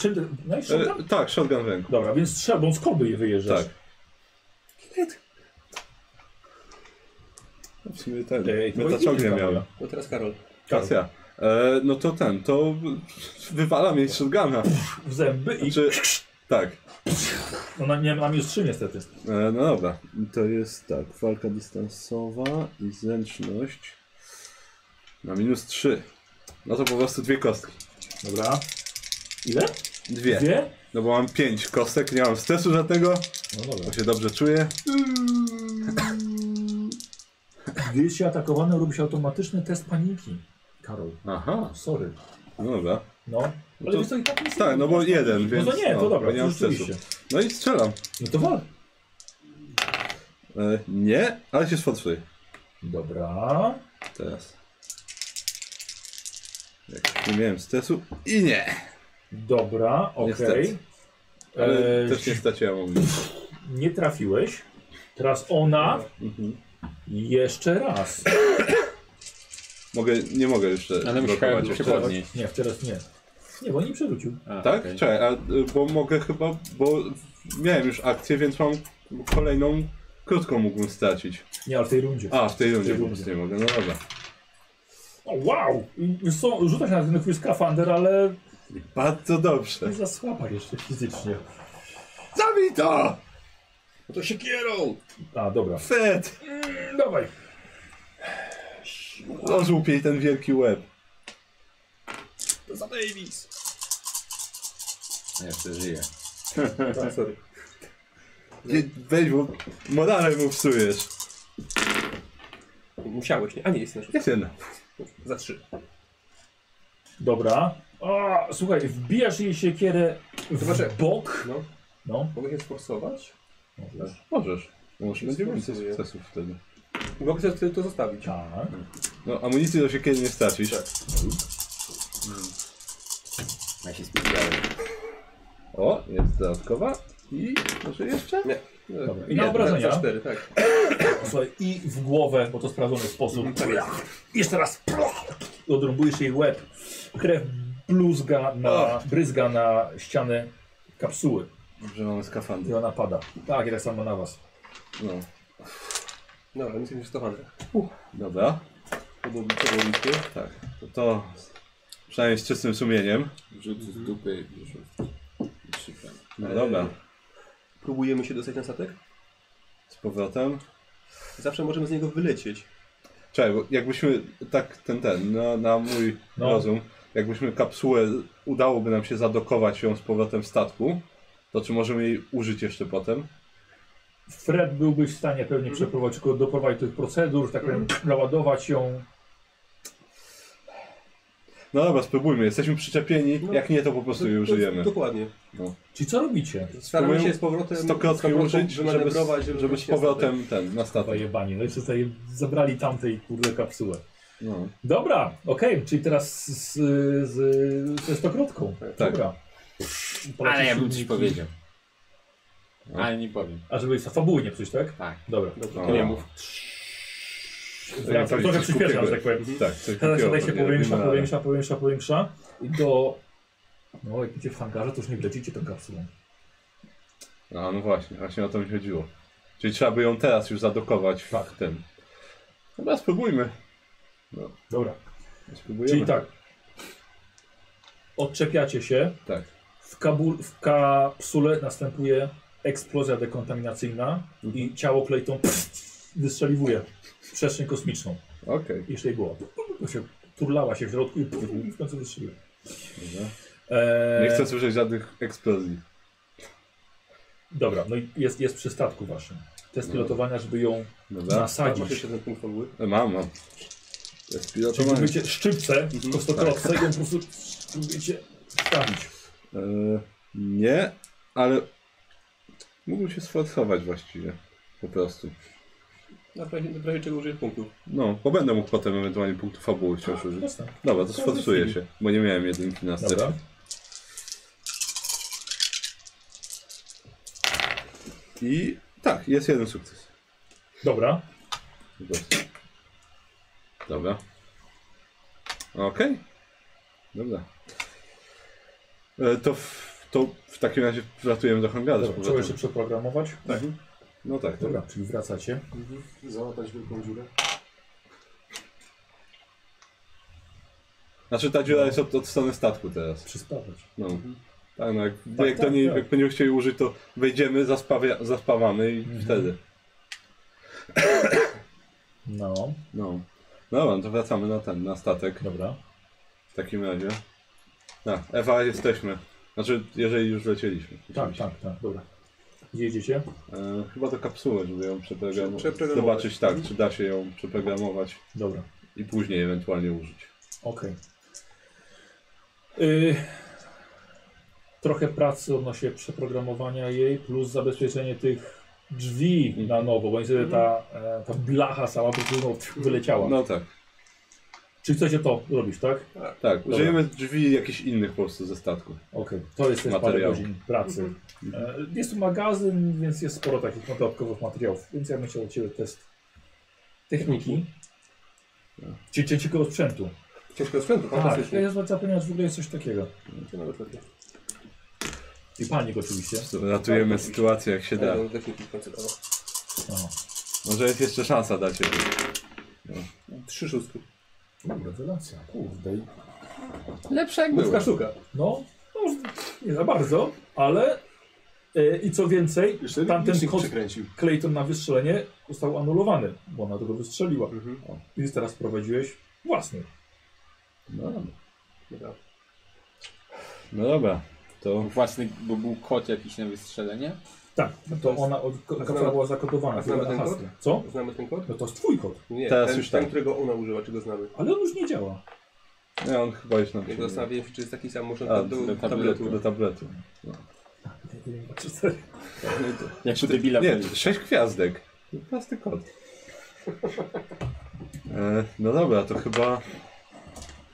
S1: Czym ty... No i
S2: E,
S1: szuka?
S2: tak, shotgun w ręku.
S1: Dobra, więc trzeba, bo z korby je wyjeżdżasz.
S2: Tak. No W sumie ten.
S1: Ej, to moje
S2: Metaciągnie
S1: Tak.
S2: miałem.
S1: imię
S5: No teraz Karol.
S2: Teraz ja. E, no to ten, to wywalam jej z shotguna.
S1: W zęby i
S2: Czy, tak.
S1: ona nie, mam już trzy niestety.
S2: E, no dobra. To jest tak, walka dystansowa i zręczność na minus 3. No to po prostu dwie kostki.
S1: Dobra. Ile?
S2: Dwie.
S1: Dwie?
S2: No bo mam pięć kostek, nie mam stresu żadnego,
S1: No dobra.
S2: bo się dobrze czuję.
S1: Gdy jest się atakowany, robi się automatyczny test paniki. Karol,
S2: Aha,
S1: sorry.
S2: no dobra.
S1: No. Ale
S2: to-
S1: wiesz co, i tak nie
S2: Tak, no bo jeden, więc...
S1: No to nie, to dobra,
S2: bo nie
S1: to
S2: mam stresu.
S1: rzeczywiście.
S2: No i strzelam.
S1: No to wal.
S2: E, nie, ale się sfotrzy.
S1: Dobra.
S2: Teraz. Jak nie miałem stresu i nie.
S1: Dobra, okej.
S2: Niestety. Ale
S1: Eee,
S2: też nie straciłem ogniska.
S1: nie trafiłeś. Teraz ona.
S2: Mhm.
S1: Jeszcze raz.
S2: Mogę, nie mogę jeszcze
S4: Ale musiałem się
S2: jeszcze.
S4: podnieść.
S1: Nie, teraz nie. Nie, bo nie przerzucił.
S4: A,
S2: Tak?
S4: okej.
S2: Czekaj, a, y, bo mogę chyba, bo miałem już akcję, więc mam kolejną krótką mógłbym stracić.
S1: Nie, ale w tej rundzie.
S2: A, w tej rundzie
S1: tej
S2: po
S1: rundzie.
S2: prostu nie mogę, no dobra.
S1: O, wow! So, rzuca się na ten chwil skafander, ale
S2: Bardzo dobrze.
S1: jest za słaba jeszcze fizycznie.
S2: Zabij to!
S5: No to się kierą!
S1: A, dobra.
S2: Fet!
S1: Dawaj.
S2: Rozłup jej ten wielki łeb.
S5: To za Davis!
S4: Ja jeszcze żyję.
S5: A, Tak, sorry.
S2: Nie, weź, bo morale mu psujesz.
S5: Musiałeś, nie? A nie, jest na
S2: Jest jedna.
S5: Za trzy.
S1: Dobra. A, słuchaj, wbijasz jej siekierę w
S5: Zobaczę.
S1: bok.
S5: No.
S1: No.
S5: Mogę się sforsować?
S1: Możesz.
S2: Możesz. Może będzie więcej
S5: Spróbuję.
S2: sukcesów wtedy.
S5: Mogę sobie to zostawić.
S1: Tak.
S2: No, amunicji do siekiery nie stracisz.
S5: Tak.
S4: Mm. Ja się spóźniałem.
S2: O, jest dodatkowa. I może jeszcze?
S5: Nie.
S1: Dobra. I
S5: Nie,
S1: na
S5: Za
S1: obrażenia.
S5: cztery, tak.
S1: Słuchaj, i w głowę, bo to sprawdzony sposób.
S5: No tak.
S1: Jeszcze raz. Odrąbujesz jej łeb. Krew bluzga na, bryzga na ścianę kapsuły.
S2: Dobrze, mamy
S1: I
S2: skafandy.
S1: ona pada. Tak, i tak samo na was.
S2: No,
S5: Dobra, nic nie stosowane.
S2: dobra.
S5: To było to było bliskie.
S2: Tak. To, to przynajmniej z czystym sumieniem.
S4: Rzut z dupy i rzut. Szybko.
S2: No
S5: Eee.
S2: dobra.
S5: Próbujemy się dostać na statek?
S2: Z powrotem.
S5: Zawsze możemy z niego wylecieć.
S2: Czekaj, bo jakbyśmy tak ten ten, na, na mój
S1: No.
S2: rozum, jakbyśmy kapsułę udałoby nam się zadokować ją z powrotem w statku, to czy możemy jej użyć jeszcze potem?
S1: Fred byłby w stanie pewnie
S5: Mhm.
S1: przeprowadzić, tylko doprowadzić do tych procedur, tak powiem, naładować ją.
S2: No dobra, spróbujmy, jesteśmy przyczepieni,
S5: No.
S2: jak nie to po prostu jej użyjemy.
S5: Dokładnie.
S1: Czyli co robicie?
S5: Staramy
S2: Spróbuję
S5: się z powrotem
S2: Stokrotki użyć, żeby,
S5: wymanewrować,
S2: żeby,
S5: wejść
S2: z
S5: na
S2: powrotem ten, na statek.
S1: Zajebani, no jeszcze zaje... zabrali tamtej kurde kapsułę.
S2: No.
S1: Dobra, okej, czyli teraz z, z, z, ze stokrotką.
S2: Tak.
S1: Dobra. Poleci
S4: Ale ja bym coś
S1: silniki.
S4: powiedział. Ale nie powiem.
S1: A żeby fabułnie psuć, tak?
S4: Tak.
S1: Dobra.
S2: No.
S5: nie mów.
S1: Ja to trochę przyspieszam, że tak powiem.
S2: Tak, coś
S1: Teraz
S2: takiego,
S1: tutaj się
S2: nie
S1: powiększa,
S2: robimy,
S1: powiększa, powiększa, powiększa i do... No, jak idzie w hangarze, to już nie wlecicie tą kapsułą.
S2: ale- A no właśnie, właśnie o to mi chodziło. Czyli trzeba by ją teraz już zadokować w tak. tym. Dobra, spróbujmy.
S1: Dobra,
S2: spróbujemy.
S1: czyli tak. Odczepiacie się,
S2: Tak.
S1: w, kabul, w kapsule następuje eksplozja dekontaminacyjna i ciało Clayton pff, wystrzeliwuje w przestrzeń kosmiczną.
S2: Okej.
S1: Jeszcze jej głowa. To się turlała się w środku i, pff, i w końcu wystrzeliła.
S2: dobra.
S1: Eee,
S2: Nie chcę słyszeć żadnych eksplozji.
S1: Dobra, no i jest, jest przy statku waszym. Test pilotowania, żeby ją
S2: Dobra.
S5: Masz
S1: nasadzić.
S5: jeszcze ten punkt fabuły?
S2: E, Mam, mam. To jest
S1: Czyli
S2: pilotowanie.
S1: próbujecie szczypce,
S2: Mhm. Tak.
S1: kostokrotce i ją po prostu próbujecie stawić.
S2: E, nie, ale mógłbym się sforsować właściwie. Po prostu.
S5: Na prawie, na prawie czego użyjesz punktów.
S2: No, bo będę mógł potem ewentualnie punktu fabuły wciąż użyć.
S1: Jasne.
S2: Dobra, to
S1: To
S2: sforsuję
S1: zyski.
S2: się, bo nie miałem jedynki na styl.
S1: Dobra.
S2: I tak, jest jeden sukces.
S1: Dobra.
S2: Po prostu. Dobra. Okej. Dobra. E, to, w, to w takim razie wlatujemy do hangaru. z
S1: Dobra, trzeba
S2: powrotem.
S1: jeszcze przeprogramować.
S2: Mhm. No tak, dobra.
S1: Dobra, czyli wracacie.
S3: Załatać wielką dziurę.
S2: Znaczy ta dziura jest od, od strony statku teraz.
S1: Przyspawać.
S2: No. Tak, no jak,
S1: Mhm. Tak,
S2: jak, to
S1: tak,
S2: nie,
S1: tak.
S2: jak będziemy chcieli użyć, to wejdziemy, zaspawia, zaspawamy i
S1: Mhm.
S2: wtedy.
S1: No,
S2: No. Dobra, no to wracamy na ten, na statek
S1: dobra.
S2: w takim razie. Tak, Ewa, jesteśmy. Znaczy, jeżeli już lecieliśmy.
S1: Tak, tak, tak, dobra. Gdzie jedziecie?
S2: E, chyba do kapsuły, żeby ją przeprogramować.
S5: Prze- przeprogramować.
S2: Zobaczyć tak, czy da się ją przeprogramować
S1: Dobra,
S2: i później ewentualnie użyć.
S1: okej. Y, trochę pracy odnośnie przeprogramowania jej, plus zabezpieczenie tych drzwi na nowo, bo niestety ta, e, ta blacha sama po prostu wyleciała.
S2: No tak,
S1: Czyli chcecie to robić, tak?
S2: tak. Użyjemy drzwi jakichś innych po prostu ze statku.
S1: Okej, to jest też parę
S2: Materiał.
S1: godzin pracy. E, Jest tu magazyn, więc jest sporo takich no, dodatkowych materiałów, więc ja bym chciał od Ciebie test techniki.
S2: Tak.
S1: Czy czy ciekawego sprzętu?
S5: Ciężko sprzętu,
S1: Tak, ja
S5: fantastycznie.
S1: jest zapomniałem, że w ogóle jest coś takiego.
S5: To nawet lepiej.
S1: I panik oczywiście.
S2: Ratujemy sytuację jak się da.
S5: Ale do techniki koncertowa.
S1: Aha.
S2: Może jest jeszcze szansa dla ciebie.
S5: Trzy szóstki.
S1: U, rewelacja, kurde.
S4: Lepsze
S2: Tak
S4: jak było.
S5: Główka sztuka.
S1: No, no, nie za bardzo, ale e, i co więcej,
S3: Jeszcze
S1: tamten
S3: licznik
S1: kod
S3: przekręcił.
S1: Clayton na wystrzelenie został anulowany, bo ona tego wystrzeliła. O, Więc teraz prowadziłeś własny.
S2: No dobra.
S5: Dobra.
S2: No dobra, to
S4: Własny, bo był kot jakiś na wystrzelenie.
S1: Tak, no to ona od, ko-
S5: a
S1: kapsula
S5: znamy-
S1: była zakodowana.
S5: a znamy
S1: była na
S5: ten kod?
S1: hasle. Co?
S5: Znamy ten kod?
S1: No to jest twój kod,
S5: Nie,
S2: Teraz
S5: ten,
S2: już
S5: ten
S2: tak.
S5: którego ona używa, czy go znamy?
S1: ale on już nie działa.
S2: nie, on chyba już nam
S5: Ja
S2: się-
S5: go zastanawiam się, czy jest taki sam, może
S2: A,
S5: do, do,
S2: do
S5: tabletu.
S2: tabletu. Do tabletu.
S4: Jak się debila
S2: Nie, sześć gwiazdek. Prosty kod. E, no dobra, to chyba...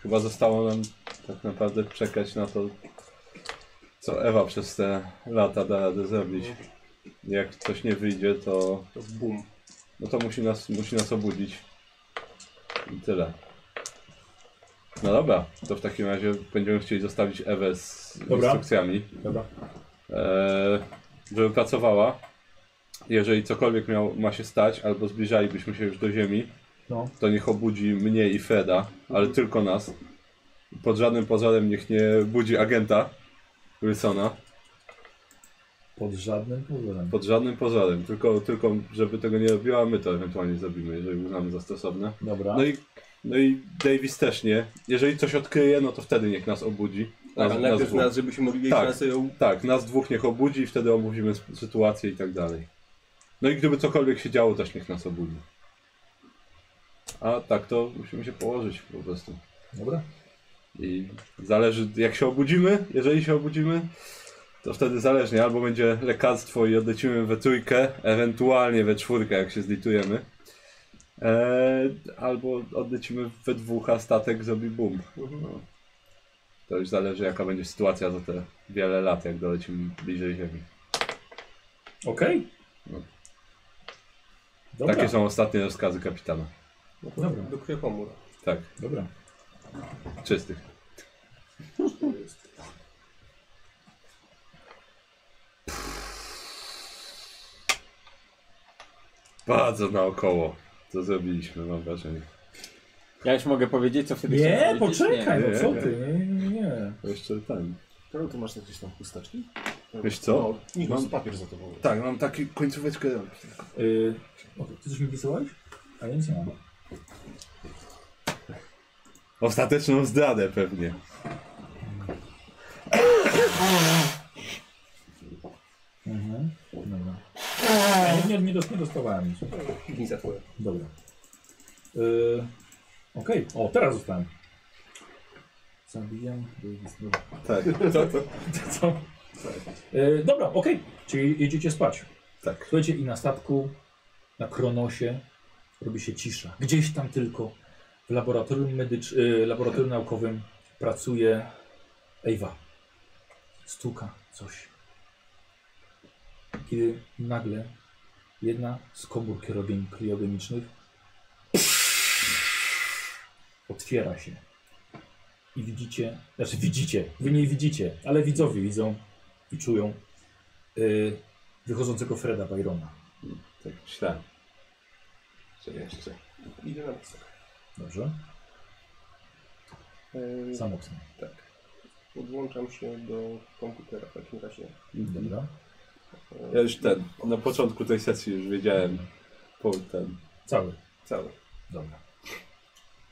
S2: Chyba zostało nam tak naprawdę czekać na to, co Ewa przez te lata da radę zrobić. Jak coś nie wyjdzie, to...
S5: To boom.
S2: No to musi nas, musi nas obudzić. I tyle. No dobra, to w takim razie będziemy chcieli zostawić Ewę z
S1: Dobra.
S2: instrukcjami.
S1: Dobra.
S2: Eee, żeby pracowała. Jeżeli cokolwiek miał, ma się stać, albo zbliżalibyśmy się już do ziemi,
S1: No.
S2: to niech obudzi mnie i Freda, ale tylko nas. Pod żadnym pozorem niech nie budzi agenta Wilsona.
S1: Pod żadnym pozorem.
S2: Pod żadnym pozorem, tylko, tylko żeby tego nie robiła, my to ewentualnie zrobimy, jeżeli uznamy za stosowne.
S1: Dobra.
S2: No i, no i Davis też nie. Jeżeli coś odkryje, no to wtedy niech nas obudzi.
S5: Tak, ale najpierw
S2: dwóch.
S5: nas, żebyśmy mogli mieć
S2: Tak.
S5: szansę ją...
S2: Tak, nas dwóch niech obudzi i wtedy omówimy s- sytuację i tak dalej. No i gdyby cokolwiek się działo, też niech nas obudzi. A tak to musimy się położyć po prostu.
S1: Dobra.
S2: I zależy, jak się obudzimy, jeżeli się obudzimy, to wtedy zależnie, albo będzie lekarstwo i odlecimy we trójkę, ewentualnie we czwórkę, jak się zlitujemy. E, Eee, albo odlecimy we dwóch, a statek zrobi boom. No. To już zależy jaka będzie sytuacja za te wiele lat, jak dolecimy bliżej Ziemi.
S1: Okej.
S2: No.
S1: Dobra.
S2: Takie są ostatnie rozkazy kapitana.
S1: Dobra,
S5: Do krwiopomór.
S2: Tak,
S1: dobra.
S2: czystych. Bardzo naokoło. To zrobiliśmy, mam wrażenie.
S4: Ja już mogę powiedzieć, co wtedy
S1: Nie,
S4: chciałem powiedzieć?
S1: poczekaj,
S2: Nie,
S1: no co
S2: nie.
S1: ty? Nie, nie, nie.
S2: To Jeszcze ten.
S3: Karol, ty masz jakieś tam chusteczki?
S2: Wiesz co?
S3: No, Nikos,
S2: Mam-
S3: papier za tobą.
S2: Tak, mam taki końcóweczkę.
S1: Y, o, ty coś mi wysyłałeś? A ja nic nie mam.
S2: Ostateczną zdradę pewnie.
S1: Mhm. Dobra. Ja nie, nie, dos- nie dostawałem nic.
S5: Piwnica twoja.
S1: Dobra. Y, Okej, o teraz zostałem. Zabijam. Dobra.
S2: Tak,
S1: Co? Y, dobra, okej. Czyli idziecie spać.
S2: tak.
S1: Słuchajcie, i na statku, na Kronosie robi się cisza. Gdzieś tam tylko w laboratorium, medycz... y, laboratorium naukowym pracuje Ewa. Stuka coś. Kiedy nagle jedna z komór kierobień kriogenicznych otwiera się. I widzicie, znaczy widzicie, wy nie widzicie, ale widzowie widzą i czują y, wychodzącego Freda Byrona.
S2: Tak, myślałem.
S5: Co jeszcze? Idę na mostek.
S1: Dobrze?
S5: Eee,
S1: Samotny.
S5: tak. Podłączam się do komputera w takim razie.
S1: Dobra.
S5: Eee,
S2: Ja już ten, na początku tej sesji już wiedziałem. Po ten.
S1: Cały.
S5: Cały.
S1: Dobra.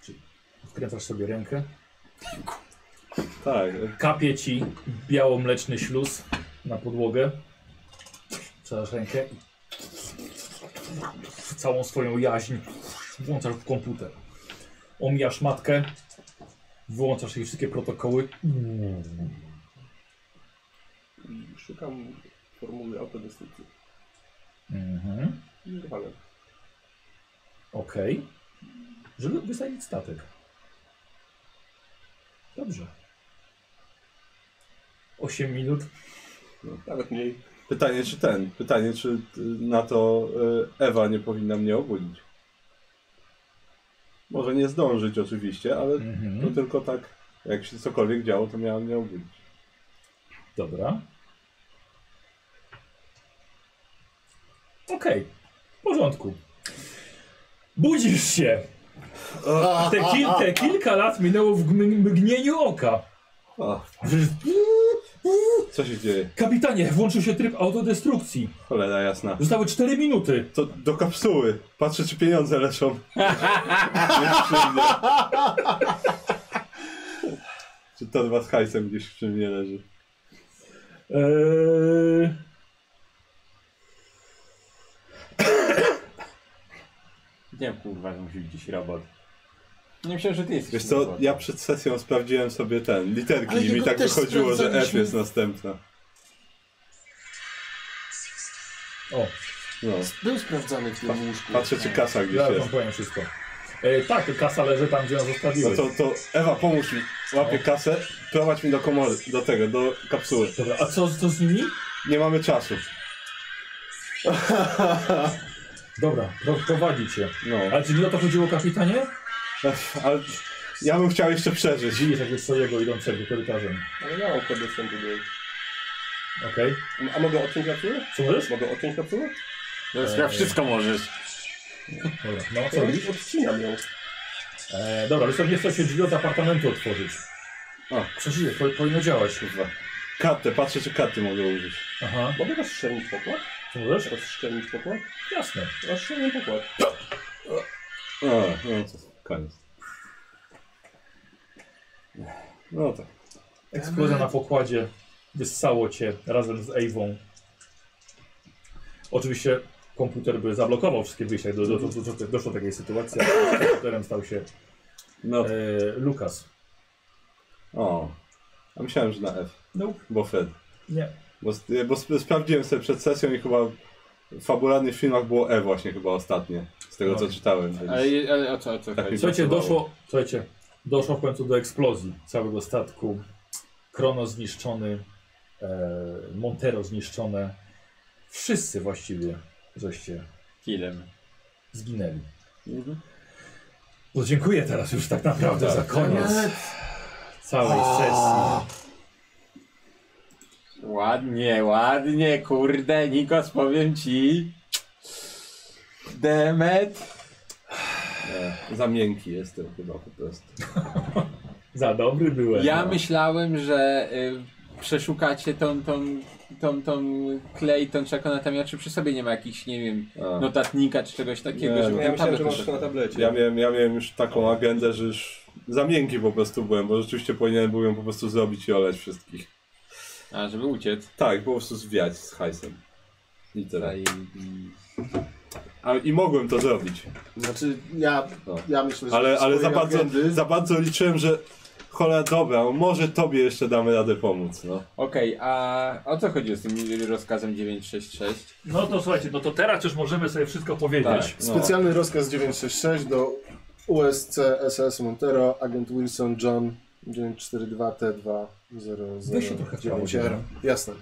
S1: Czyli wkręcasz sobie rękę.
S2: Tak,
S1: Kapie ci biało-mleczny śluz na podłogę. Przedasz rękę i całą swoją jaźń włączasz w komputer. Omijasz matkę, wyłączasz jej wszystkie protokoły.
S5: I szukam formuły autodestrukcji.
S1: Mhm.
S5: I wypalam.
S1: Okej. Żeby wysadzić statek. Dobrze. 8 minut.
S5: Nawet mniej.
S2: Pytanie, czy ten, pytanie, czy y, na to y, Ewa nie powinna mnie obudzić. Może nie zdążyć oczywiście, ale to
S1: Mhm.
S2: tylko tak, jak się cokolwiek działo, to miała mnie obudzić.
S1: Dobra. Okej. W porządku. Budzisz się. Te, kil te kilka lat minęło w gmy- mgnieniu oka.
S2: O, co się dzieje?
S1: Kapitanie, włączył się tryb autodestrukcji.
S2: Cholera jasna.
S1: Zostały 4 minuty.
S2: To do kapsuły. Patrzę, czy pieniądze leżą. czy torba z hajsem gdzieś przy mnie leży.
S1: Eee...
S4: Nie, kurwa, że musi być dziś robot. Nie myślałem, że ty jesteś
S2: Wiesz co,
S4: robotem.
S2: ja przed sesją sprawdziłem sobie ten, literki
S3: Ale
S2: i mi
S3: jego
S2: tak
S3: też
S2: wychodziło, że F
S3: sprawdzaliśmy.
S2: jest następna.
S1: O,
S2: No.
S3: Był sprawdzany w tym łóżku.
S2: Patrzę, czy kasa gdzieś
S1: ja wam
S2: jest.
S1: powiem wszystko. E, tak, kasa leży tam, gdzie ją
S2: No
S1: zostawiłeś.
S2: to, to Ewa, pomóż mi. Łapię kasę, prowadź mi do komory, do tego, do kapsuły.
S1: Dobra, a co, co z nimi?
S2: Nie mamy czasu.
S1: Dobra, pro- prowadzi cię.
S2: No,
S1: Ale czy nie o to chodziło, kapitanie?
S2: ale ja bym chciał jeszcze przeżyć.
S1: Widzisz jakiegoś swojego idącego korytarzem.
S5: Ale ja mam kod dostępu do...
S1: Okej.
S5: A mogę odciąć kapsułę?
S1: Co możesz?
S5: Mogę odciąć kapsułę?
S4: To już chyba wszystko możesz.
S1: Dobra, no co
S5: Co
S1: robisz?
S5: robisz? Odcinam ją.
S1: E, dobra, wiesz co, nie chce się drzwi od apartamentu otworzyć.
S2: O.
S1: Przeżyję, po, powinno działać.
S2: Kurwa. Kartę, patrzę, czy karty mogę użyć.
S1: Aha.
S5: Mogę rozszczelnić pokład?
S1: Co możesz?
S5: Rozszczelnić pokład?
S1: Jasne.
S5: Rozszczelnię pokład.
S2: A, no to koniec. No tak.
S1: Eksplozja na pokładzie wyssało cię razem z Ewą. Oczywiście komputer by zablokował wszystkie wyjścia, do, do, do, do, do, doszło do takiej sytuacji, a komputerem stał się
S2: No,
S1: e, Lukas.
S2: o. A myślałem, że na F,
S1: No,
S2: bo Fred.
S1: nie.
S2: Bo, s- e, bo sp- sprawdziłem sobie przed sesją i chyba w fabularnych filmach było E właśnie chyba ostatnie. Z tego, co
S1: No.
S2: czytałem. więc-
S4: Ale, ale o co, o co
S2: Tak,
S4: chodzi?
S1: Słuchajcie,
S2: Brakowało.
S1: doszło, słuchajcie, doszło w końcu do eksplozji całego statku Krono zniszczony, e, Montero zniszczone. Wszyscy właściwie żeście
S4: Killem.
S1: zginęli. No dziękuję teraz już tak naprawdę za koniec całej sesji.
S4: Ładnie, ładnie, kurde, Nikos, powiem ci. Demet.
S5: E, Za miękki jestem chyba po prostu.
S1: Za dobry byłem.
S4: Ja
S1: no.
S4: myślałem, że y, przeszukacie tą, tą, tą, tą klej, tą czekonatę, ja czy przy sobie nie ma jakichś, nie wiem,
S2: A.
S4: notatnika czy czegoś takiego,
S2: Nie,
S4: żeby
S2: no.
S5: Ja
S4: ten
S5: myślałem, że
S4: tablet
S5: masz to na tablecie.
S2: Ja miałem, ja miałem już taką agendę, że już za miękki po prostu byłem, bo rzeczywiście powinienem byłem po prostu zrobić i oleć wszystkich.
S4: A, żeby uciec.
S2: Tak, po prostu zwiać z hajsem. I tyle.
S4: Tutaj, mm,
S2: A, I mogłem to zrobić,
S3: Znaczy, ja,
S2: No.
S3: ja myślę, że...
S2: ale, ale za,
S3: swojej
S2: bardzo,
S3: agendy-
S2: za bardzo liczyłem, że cholera dobra, może tobie jeszcze damy radę pomóc, no.
S4: Okej, a o co chodzi z tym rozkazem 966?
S1: No to słuchajcie, no to teraz już możemy sobie wszystko
S3: Tak.
S1: powiedzieć.
S2: no.
S3: Specjalny rozkaz 966 do USC SS Montero, agent Wilson John 942
S1: trochę w
S3: t
S1: prawo,
S3: 2009 r Jasne.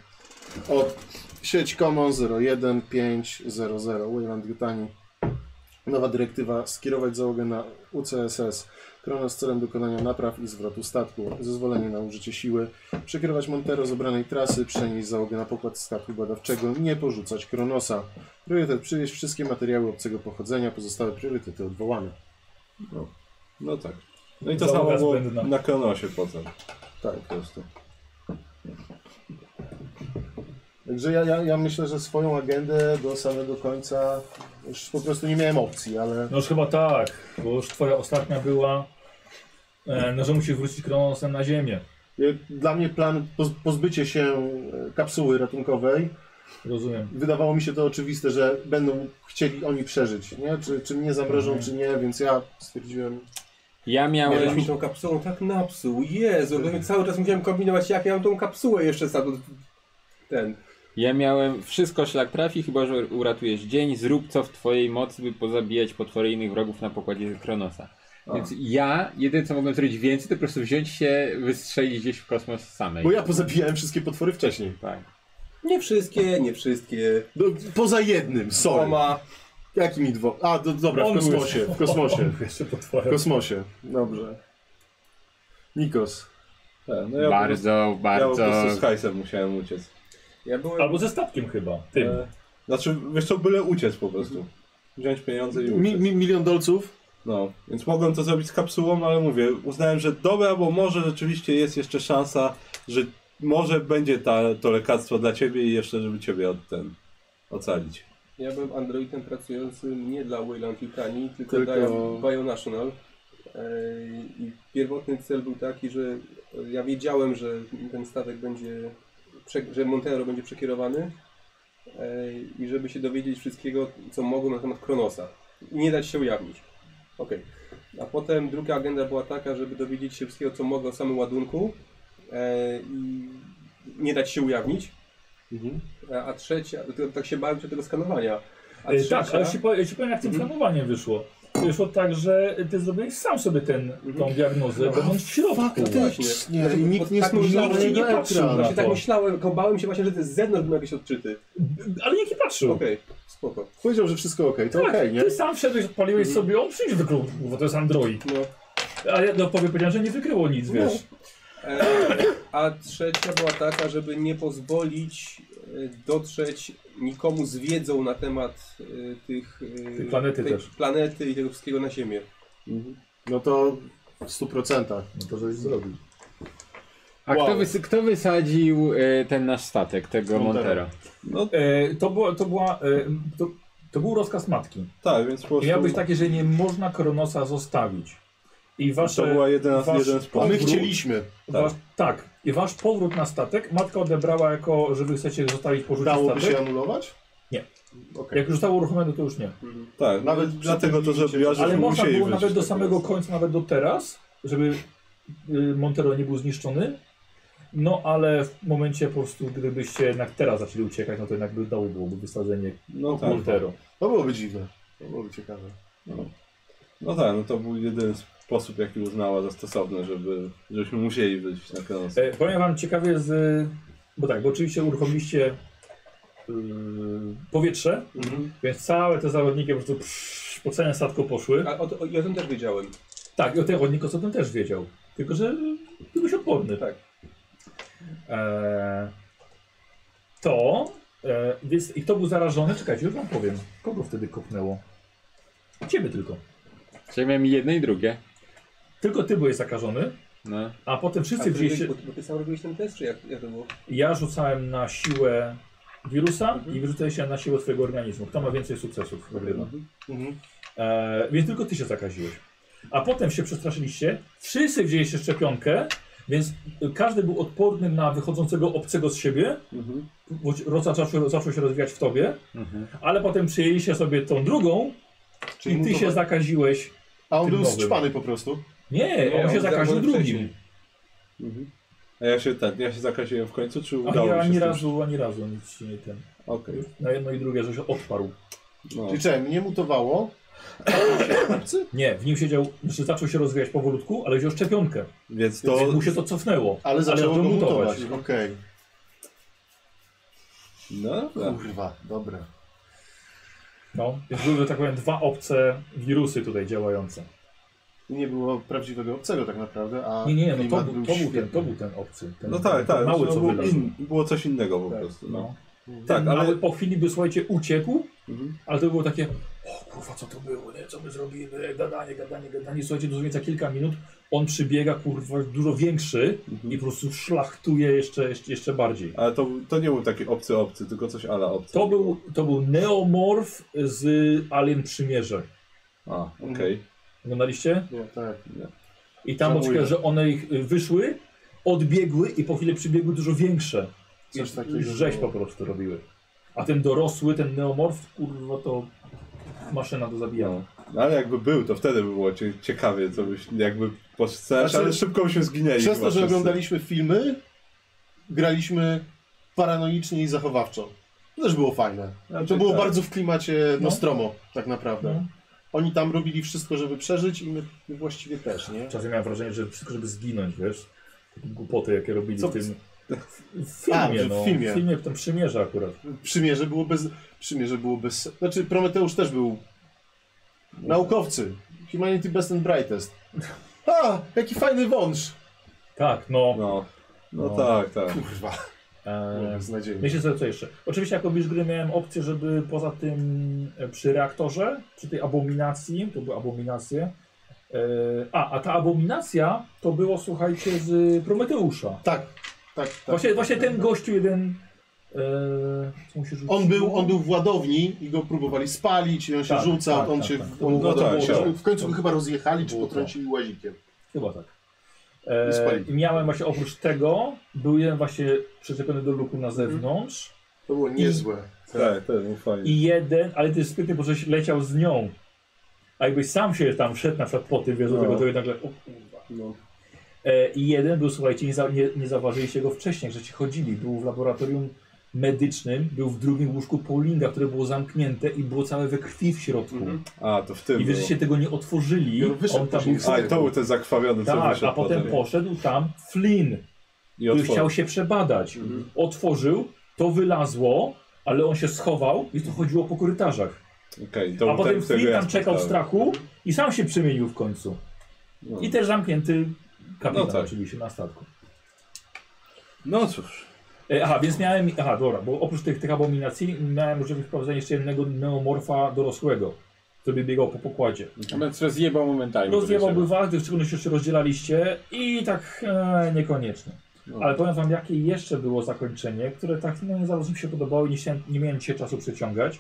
S3: Od sieć Common 01500 Wayland Yutani. Nowa dyrektywa skierować załogę na UCSS Krona z celem dokonania napraw i zwrotu statku. Zezwolenie na użycie siły. Przekierować Montero z obranej trasy, przenieść załogę na pokład statku badawczego, nie porzucać Kronosa. Priorytet przywieźć wszystkie materiały obcego pochodzenia, pozostałe priorytety odwołane.
S2: No tak. No i to
S1: Załoga
S2: samo było
S1: zbędna.
S2: na Kronosie potem.
S3: Tak.
S2: Po prostu.
S3: Także ja, ja, ja myślę, że swoją agendę do samego końca już po prostu nie miałem opcji, ale
S1: No już chyba tak, bo już twoja ostatnia była, e, no że musisz wrócić Kronosem na ziemię.
S3: ja- y, dla mnie plan poz- pozbycie się e, kapsuły ratunkowej
S1: Rozumiem.
S3: wydawało mi się to oczywiste, że będą chcieli oni przeżyć, nie? Czy, czy mnie zamrożą, czy nie, więc ja stwierdziłem,
S4: Ja
S5: Miałeś
S4: miałem...
S5: mi tą kapsułą tak napsuł, Jezu, cały czas musiałem kombinować jak ja mam tą kapsułę jeszcze sam ten.
S4: Ja miałem wszystko szlak trafi, chyba że uratujesz dzień, zrób co w twojej mocy, by pozabijać potwory i innych wrogów na pokładzie Kronosa. Więc ja, jedyne co mogłem zrobić więcej, to po prostu wziąć się, wystrzelić gdzieś w kosmos samej.
S3: bo ja pozabijałem wszystkie potwory wcześniej.
S4: Tak.
S5: Nie wszystkie, nie wszystkie.
S3: No, poza jednym, sorry.
S5: Oma.
S3: Jakimi dwo... A, do, dobra, w
S1: On był-
S3: kosmosie, w kosmosie,
S1: On był jeszcze
S3: w
S1: potworem.
S3: kosmosie, dobrze. Nikos.
S2: Tak, no ja po
S4: bardzo,
S2: prostu, ja po
S4: bardzo...
S2: prostu z hajsem musiałem uciec.
S5: Ja byłem...
S1: Albo ze statkiem chyba, tym.
S2: E, znaczy, wiesz co, byle uciec po prostu. Wziąć pieniądze i
S3: Mi,
S2: uciec.
S3: mi, milion dolców?
S2: No, więc mogłem to zrobić z kapsułą, ale mówię, uznałem, że dobra, bo może rzeczywiście jest jeszcze szansa, że może będzie ta, to lekarstwo dla ciebie i jeszcze, żeby ciebie od ten ocalić.
S5: Ja byłem androidem pracującym nie dla Wayland Yutani, tylko,
S3: Tylko-
S5: dla Bionational. Ej, I pierwotny cel był taki, że e, ja wiedziałem, że ten statek będzie, prze- że Montero będzie przekierowany ej, i żeby się dowiedzieć wszystkiego, co mogłem na temat Kronosa. I nie dać się ujawnić. Okej. A potem druga agenda była taka, żeby dowiedzieć się wszystkiego, co mogę o samym ładunku ej, i nie dać się ujawnić.
S1: Mhm.
S5: E, A, a trzecia, to- tak się bałem się tego skanowania. A
S1: E,
S5: trzecia,
S1: Tak, ale ci powiem, ja ci powiem jak tym
S2: Mhm.
S1: planowaniem wyszło. Wyszło tak, że ty zrobiłeś sam sobie ten,
S2: Mhm.
S1: tą diagnozę, będąc w środku. Znaczy,
S3: Faktycznie, i nikt nie
S5: Tak
S3: spojrzał
S5: myślałem,
S3: na
S1: nie
S3: jego
S1: patrzył na
S3: ekran.
S5: Właśnie tak
S1: to.
S5: myślałem, tylko bałem się właśnie, że to z zewnątrz był jakiś odczyty.
S1: B- Ale nikt nie patrzył.
S5: Okej, spoko.
S3: Powiedział, że wszystko okej, to
S1: Tak,
S3: okej, nie?
S1: Ty sam wszedłeś, odpaliłeś
S2: Mhm.
S1: sobie, on przyjdzie do klubu, bo to jest Android.
S5: No.
S1: A ja no, powiem, powiedziałem, że nie wykryło nic,
S5: No.
S1: wiesz.
S5: E, a trzecia była taka, żeby nie pozwolić e, dotrzeć nikomu z wiedzą na temat e, tych, e,
S1: Tej planety też.
S5: planety i tego wszystkiego na Ziemię.
S3: No to w 100%.
S1: No to żeś zrobił.
S4: A
S3: Wow.
S4: kto, wys kto wysadził y, ten nasz statek, tego
S3: Montero.
S4: Montero?
S2: No
S1: E, to, była, to, była, e, to, to był rozkaz matki.
S2: tak, więc po prostu
S1: Miał być taki, że nie można Kronosa zostawić. I wasze,
S2: to była jeden,
S1: wasz-
S2: jeden z
S3: A my
S2: punktów.
S3: chcieliśmy.
S1: wasz, tak, i wasz powrót na statek matka odebrała jako, że wy chcecie zostawić porzucić
S3: Dałoby
S1: statek.
S3: się anulować?
S1: Nie.
S3: Okej.
S1: Jak już zostało uruchomione, to już nie.
S2: Tak,
S3: Nawet
S2: nawet
S3: przy
S2: dlatego
S3: tym
S2: to
S3: limicie,
S2: zrobiła, że
S1: Ale można
S2: musieli
S1: było nawet
S2: wyrzucić
S1: do
S2: tak
S1: samego
S2: teraz.
S1: końca, nawet do teraz, żeby y, Montero nie był zniszczony. No ale w momencie po prostu, gdybyście jednak teraz zaczęli uciekać, no to jednak by znowu byłoby wysadzenie
S2: No tak,
S1: Montero.
S3: To byłoby dziwne. To byłoby ciekawe.
S2: no tak, no to był jeden z sposób, jaki uznała za stosowny, żeby, żebyśmy musieli wyjść na Kronos.
S1: E, powiem wam ciekawie z... Bo tak, bo oczywiście uruchomiliście yy, powietrze, więc całe te zawodniki po prostu psz, po całym statku poszły.
S5: A o, to- o, i o tym też wiedziałem.
S1: Tak, i o tym chodniku co tym też wiedział. Tylko, że byłeś odporny.
S5: Tak.
S1: E, to... E, więc, I kto był zarażony? Czekajcie, już wam powiem. Kogo wtedy kopnęło? Ciebie tylko.
S4: Czyli miałem jedno i drugie.
S1: Tylko ty byłeś zakażony,
S4: No.
S1: a potem wszyscy
S5: A ty,
S1: wzięliście...
S5: robiłeś- bo, bo ty sam robiłeś ten test, czy jak, jak to było?
S1: Ja rzucałem na siłę wirusa i wyrzucałeś się na siłę twojego organizmu. Kto ma więcej sukcesów, wygrywa.
S3: Mhm.
S1: E, więc tylko ty się zakaziłeś. A potem się przestraszyliście, wszyscy wzięliście szczepionkę, więc każdy był odporny na wychodzącego obcego z siebie. Bo- Roca zaczął, zaczął się rozwijać w tobie, ale potem przyjęliście sobie tą drugą
S3: Czyli
S1: i ty
S3: mu to-
S1: się zakaziłeś.
S3: A on
S1: tym
S3: był
S1: nowym.
S3: strzpany po prostu.
S1: Nie,
S5: Nie,
S1: on się zakaził
S5: on zarażony
S1: drugim.
S5: wcześniej.
S2: A ja się tak, ja się zakaziłem w końcu, czy
S1: A
S2: udało
S1: ja
S2: mi się?
S1: ani
S2: z tym-
S1: razu, ani razu nic ci nie ten.
S2: Okej.
S1: Na jedno i drugie, że się odparł.
S2: No.
S3: Czyli czekaj, mnie mutowało.
S1: Nie, w nim siedział, znaczy zaczął się rozwijać powolutku, ale wziął szczepionkę.
S2: Więc
S1: To...
S2: to.
S1: Więc mu się to cofnęło.
S3: Ale zaczęło
S1: zaczął
S3: go mutować. Okej.
S2: No
S1: Tak.
S2: dobra.
S3: Kurwa, dobra.
S1: No, więc były, że tak powiem, dwa obce wirusy tutaj działające.
S3: Nie było prawdziwego obcego tak naprawdę, a
S1: Nie, nie, no to,
S3: klimat
S1: był, to, był
S3: świetny.
S1: ten, to był ten obcy. Ten,
S2: No tak,
S1: ten
S2: tak.
S1: Mały
S2: no,
S1: co
S2: było,
S1: wylazł.
S2: in, było coś innego po prostu. No.
S1: No.
S2: Tak,
S1: Tak, ale...
S2: ale.
S1: Mały po chwili by, słuchajcie, uciekł,
S2: Mhm.
S1: ale to było takie, o kurwa, co to było, nie? co my zrobimy, gadanie, gadanie, gadanie. Słuchajcie, to za kilka minut on przybiega, kurwa, dużo większy i po prostu szlachtuje jeszcze, jeszcze, jeszcze bardziej.
S2: Ale to, to nie był taki obcy obcy, tylko coś ala obcy.
S1: To był, to był neomorf z Alien Przymierze.
S2: A, okej.
S1: Mhm. Oglądaliście?
S3: Nie, tak.
S1: I tam było
S3: Żałuję.
S1: ciekawe, że one ich y, wyszły, odbiegły i po chwili przybiegły dużo większe.
S3: Coś
S1: I
S3: takiego
S1: Rzeź po
S3: było.
S1: prostu robiły. A ten dorosły, ten neomorf, kurwa to maszyna do zabijania.
S2: No. No, ale jakby był, to wtedy by było cie, ciekawie, co byś jakby poszedł,
S3: Znaczy,
S2: ale szybko byśmy zginęli.
S3: Przez
S2: chyba
S3: to, że
S2: wszyscy.
S3: oglądaliśmy filmy, graliśmy paranoicznie i zachowawczo. To też było fajne.
S2: Znaczy,
S3: No, To było
S2: tak.
S3: bardzo w klimacie
S1: No.
S3: Nostromo, tak naprawdę.
S1: No.
S3: Oni tam robili wszystko, żeby przeżyć i my właściwie też, nie?
S1: Czasem miałem wrażenie, że wszystko, żeby zginąć, wiesz? Takie głupoty, jakie robili
S3: Co-
S1: w tym w
S3: A,
S1: filmie,
S3: że w
S1: no. W
S3: filmie.
S1: filmie. W filmie, w tym przymierze akurat.
S3: Przymierze było bez... Przymierze było bez... Znaczy, Prometeusz też był... Naukowcy. Humanity Best and Brightest. A, jaki fajny wąż!
S1: Tak, no.
S2: No. No,
S1: No.
S2: tak, tak.
S3: Kurwa,
S1: Eee,
S3: było beznadziejnie.
S1: Myślę sobie co jeszcze. Oczywiście jako bliż gry miałem opcję, żeby poza tym e, przy reaktorze, przy tej abominacji, to były abominacje. e, A, a ta abominacja to było, słuchajcie, z Prometeusza.
S3: Tak, tak, tak.
S1: właśnie właśnie ten gościu jeden. e, co mu się rzuciło?
S3: On był, on był w ładowni i go próbowali spalić i on się
S1: Tak,
S3: rzucał,
S1: tak,
S3: on
S1: tak,
S3: się
S1: tak.
S3: on
S2: No
S3: ładował,
S2: tak, tak.
S3: w końcu go chyba rozjechali czy
S1: Było
S3: potrącili łazikiem.
S1: Chyba tak.
S3: I
S1: E,
S3: spalił.
S1: i miałem właśnie oprócz tego, był jeden właśnie przyczepiony do luku na zewnątrz
S3: To było niezłe.
S2: Tak, to było fajnie.
S3: Mhm.
S1: i jeden, ale to jest sprytny, bo żeś leciał z nią. A jakbyś sam się tam wszedł na przykład po tym, wiesz, do
S2: No.
S1: tego to jednak, o kurwa.
S2: No.
S1: E, I jeden był, słuchajcie, nie, za, nie, nie zauważyliście go wcześniej, że ci chodzili. Był w laboratorium medycznym, był w drugim łóżku Paulinga, które było zamknięte i było całe we krwi w środku.
S2: A, to w tym
S1: I wy
S2: było.
S1: żeście tego nie otworzyli.
S3: I on wyszedł
S1: on tam
S3: później
S1: był
S3: z
S2: A, i to był ten zakrwawiony, co
S1: tak,
S2: wyszedł
S1: a potem poszedł tam Flynn,
S2: I
S1: który
S2: otworzył. Mhm.
S1: chciał się przebadać. Otworzył, to wylazło, ale on się schował i to chodziło po korytarzach.
S2: Okej,
S1: A
S2: to był
S1: potem
S2: ten, którego
S1: Flynn
S2: ja
S1: tam czekał w
S2: spotkałem.
S1: strachu i sam się przemienił w końcu.
S2: No.
S1: I też zamknięty kapitan
S2: No tak.
S1: oczywiście na statku.
S2: No cóż.
S1: E, Aha, więc miałem. Aha, dobra, bo oprócz tych, tych abominacji miałem możliwość wprowadzenia jeszcze jednego neomorfa dorosłego, który by biegał po pokładzie.
S4: A więc rozjebał momentalnie.
S1: Rozjebałby
S4: podejrzewam.
S1: was, gdy w szczególności jeszcze rozdzielaliście i tak e, niekoniecznie. Ale powiem wam, jakie jeszcze było zakończenie, które tak no, zaraz mi się podobało i nie, chciałem- nie miałem dzisiaj czasu przeciągać.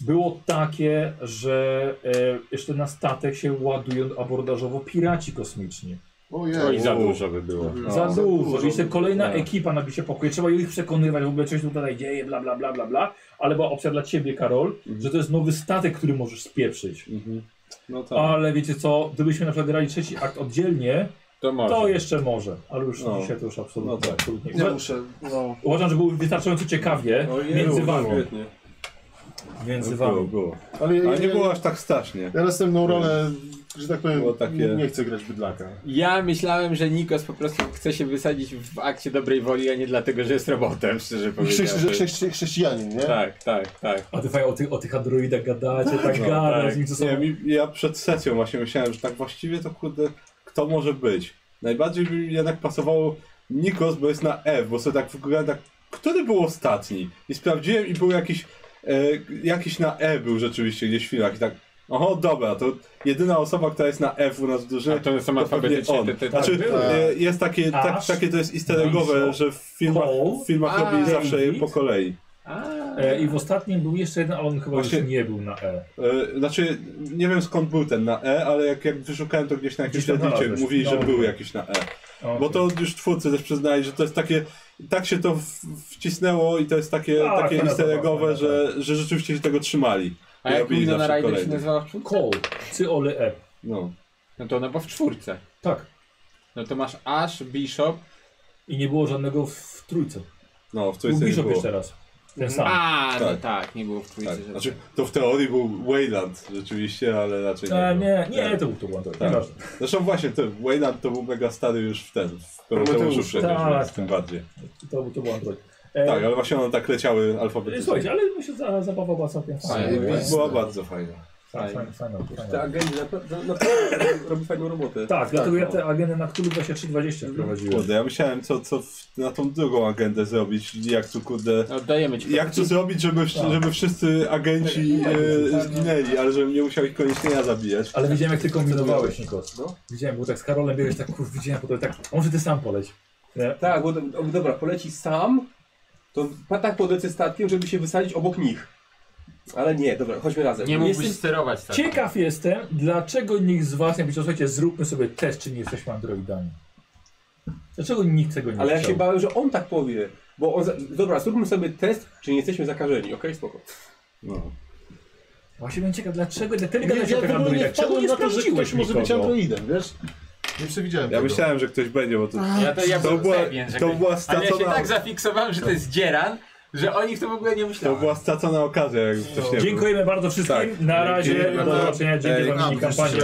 S1: Było takie, że e, jeszcze na statek się ładują abordażowo piraci kosmiczni.
S4: No i
S3: Ojej.
S4: za dużo by było.
S2: No.
S1: Za dużo. I jeszcze kolejna
S2: Tak.
S1: ekipa na się pokój. Trzeba ich przekonywać, w ogóle coś tutaj dzieje, bla, bla, bla, bla, bla. Ale była opcja dla ciebie, Karol, że to jest nowy statek, który możesz spieprzyć.
S2: Mhm. No tak.
S1: Ale wiecie co, gdybyśmy na przykład grali trzeci akt oddzielnie,
S4: To może.
S1: to jeszcze może. Ale już
S2: No.
S1: dzisiaj to już absolutnie.
S2: No tak.
S1: absolutnie.
S3: Nie
S1: Uwa-
S3: muszę, no.
S1: Uważam, że było wystarczająco ciekawie
S5: Ojej,
S1: między
S5: No, było
S1: wami.
S5: świetnie.
S1: między
S2: No, Było,
S1: wami.
S2: było.
S3: Ale ja,
S2: Ale nie
S3: ja,
S2: było aż tak strasznie.
S3: ja następną rolę, że tak
S2: Było
S3: powiem,
S2: takie-
S3: nie, nie chcę grać bydlaka.
S4: Ja myślałem, że Nikos po prostu chce się wysadzić w akcie dobrej woli, a nie dlatego, że jest robotem, szczerze
S3: Chrześci,
S4: powiedziawszy.
S3: chrześci, chrześcijanin, nie?
S4: Tak, tak, tak.
S1: A ty fajnie o tych, o tych androidach gadacie, tak
S2: no,
S1: gada
S4: tak.
S1: z nim co są.
S2: Nie, mi, ja przed sesją właśnie myślałem, że tak właściwie to kurde, kto może być? Najbardziej by mi jednak pasowało Nikos, bo jest na F, bo sobie tak w ogóle tak, który był ostatni? I sprawdziłem i był jakiś, e, jakiś na E był rzeczywiście gdzieś w filmach i tak, oho, dobra, to jedyna osoba, która jest na F u nas w
S4: A
S2: drużynie,
S4: to są
S2: to pewnie
S4: alfabetycznie
S2: on.
S4: te, te, te,
S2: Znaczy, e, jest takie, tak,
S1: Ash,
S2: takie to jest easter eggowe,
S1: Winslow,
S2: że w filmach,
S1: Cole,
S2: w filmach
S4: a,
S2: robili zawsze je
S1: David.
S2: po kolei.
S4: A,
S1: E, I w ostatnim był jeszcze jeden, a on chyba
S2: Właśnie-
S1: już nie był na E.
S2: E, Znaczy, nie wiem skąd był ten na E, ale jak, jak wyszukałem to gdzieś na jakimś
S1: Gdzieś tam
S2: śledniczym,
S1: znalazłeś.
S2: mówili, że
S1: No.
S2: był jakiś na E.
S1: Okay.
S2: Bo to już twórcy też przyznali, że to jest takie, tak się to w- wcisnęło i to jest takie,
S1: Tak,
S2: takie
S1: tak,
S2: easter
S1: tak,
S2: eggowe,
S1: tak,
S2: że, że rzeczywiście się tego trzymali.
S4: a jak
S2: robili
S4: Mina na
S2: zawsze
S4: Rider się
S2: kolejny.
S4: nazywała w czwórce?
S1: Cole, cy ole E.
S2: No.
S4: No to ona była w czwórce.
S1: Tak.
S4: No to masz Ash, Bishop,
S1: I nie było żadnego w trójce.
S2: No, w
S1: Był
S2: coś nie
S1: Bishop
S2: było.
S1: jeszcze raz. Ten sam.
S4: A, no
S2: Tak.
S4: tak, nie było w trójce.
S2: Tak.
S4: żeby-
S2: Znaczy, to w teorii był Wayland rzeczywiście, ale raczej nie.
S1: A,
S2: był.
S1: nie, nie, to był to błąd.
S2: Tak.
S1: Nieważne.
S2: Zresztą właśnie, ten Wayland to był mega stary już w ten, w Prometeuszu
S3: Prometeuszu,
S2: przecież,
S1: tak.
S2: więc tym bardziej.
S1: To, to był Android. E,
S2: Tak, ale właśnie one tak leciały
S1: e,
S2: alfabetycznie.
S1: Słuchajcie, ale mi się za, zabawa była całkiem fajna.
S4: Fajnie.
S1: Fajna,
S2: Była bardzo fajna.
S1: fajna, fajna,
S5: Ta
S1: fajna.
S5: agenda naprawdę naprawdę robi fajną robotę.
S1: Tak, dlatego ja
S5: no.
S1: te agendy na Cthulhu 2320 wprowadziłem.
S2: Kurde, ja myślałem, co, co w, na tą drugą agendę zrobić, jak tu kurde...
S4: No, Oddajemy ci.
S2: Jak to zrobić, żeby, żeby wszyscy agenci e, zginęli, ale żebym nie musiał ich koniecznie ja zabijać.
S1: Ale widziałem jak ty kombinowałeś, Nikos.
S5: No.
S1: Widziałem, bo tak z Karolem biegłeś, tak kurwa, widziałem, potem tak, a może ty sam poleć. E, Nie?
S5: Tak, bo do- o, dobra, poleci sam, to pa- tak podlecę statkiem, żeby się wysadzić obok nich. Ale nie, dobra, chodźmy razem.
S7: Nie mógłbyś
S1: Jestem-
S7: sterować tak.
S1: Ciekaw jestem, dlaczego nikt z was nie powiedział, słuchajcie, zróbmy sobie test, czy nie jesteśmy androidami. Dlaczego nikt tego nie
S5: Ale ja
S1: chciał?
S5: się bałem, że on tak powie. Bo on. Za... Dobra, zróbmy sobie test, czy nie jesteśmy zakażeni, okej, spoko.
S2: No.
S1: Właśnie byłem ciekaw, dlaczego dla tego
S3: Ja, ja
S1: się
S3: w ogóle nie
S1: androida. Czemu
S3: wpadłem
S1: nie
S3: na to, że ktoś
S1: sprawdziłeś
S3: może być
S1: nikogo?
S3: androidem, wiesz? Nie przewidziałem
S2: Ja
S3: tego.
S2: myślałem, że ktoś będzie, bo to,
S7: Ja to ja
S2: to,
S7: byłem
S2: była,
S7: pewien, że
S2: to
S7: ktoś-
S2: była
S7: Ale ja się
S2: stracona,
S7: tak zafiksowałem, że to jest dzieran, że o nich to w ogóle nie
S2: to
S7: myślałem.
S2: była stracona okazja, jak ktoś nie był.
S1: Dziękujemy bardzo wszystkim.
S2: Tak.
S1: Na razie,
S2: Dziękujemy
S1: do
S2: bardzo.
S1: zobaczenia. Dzięki
S2: Ej,
S1: za mini
S7: a,
S1: kampanię.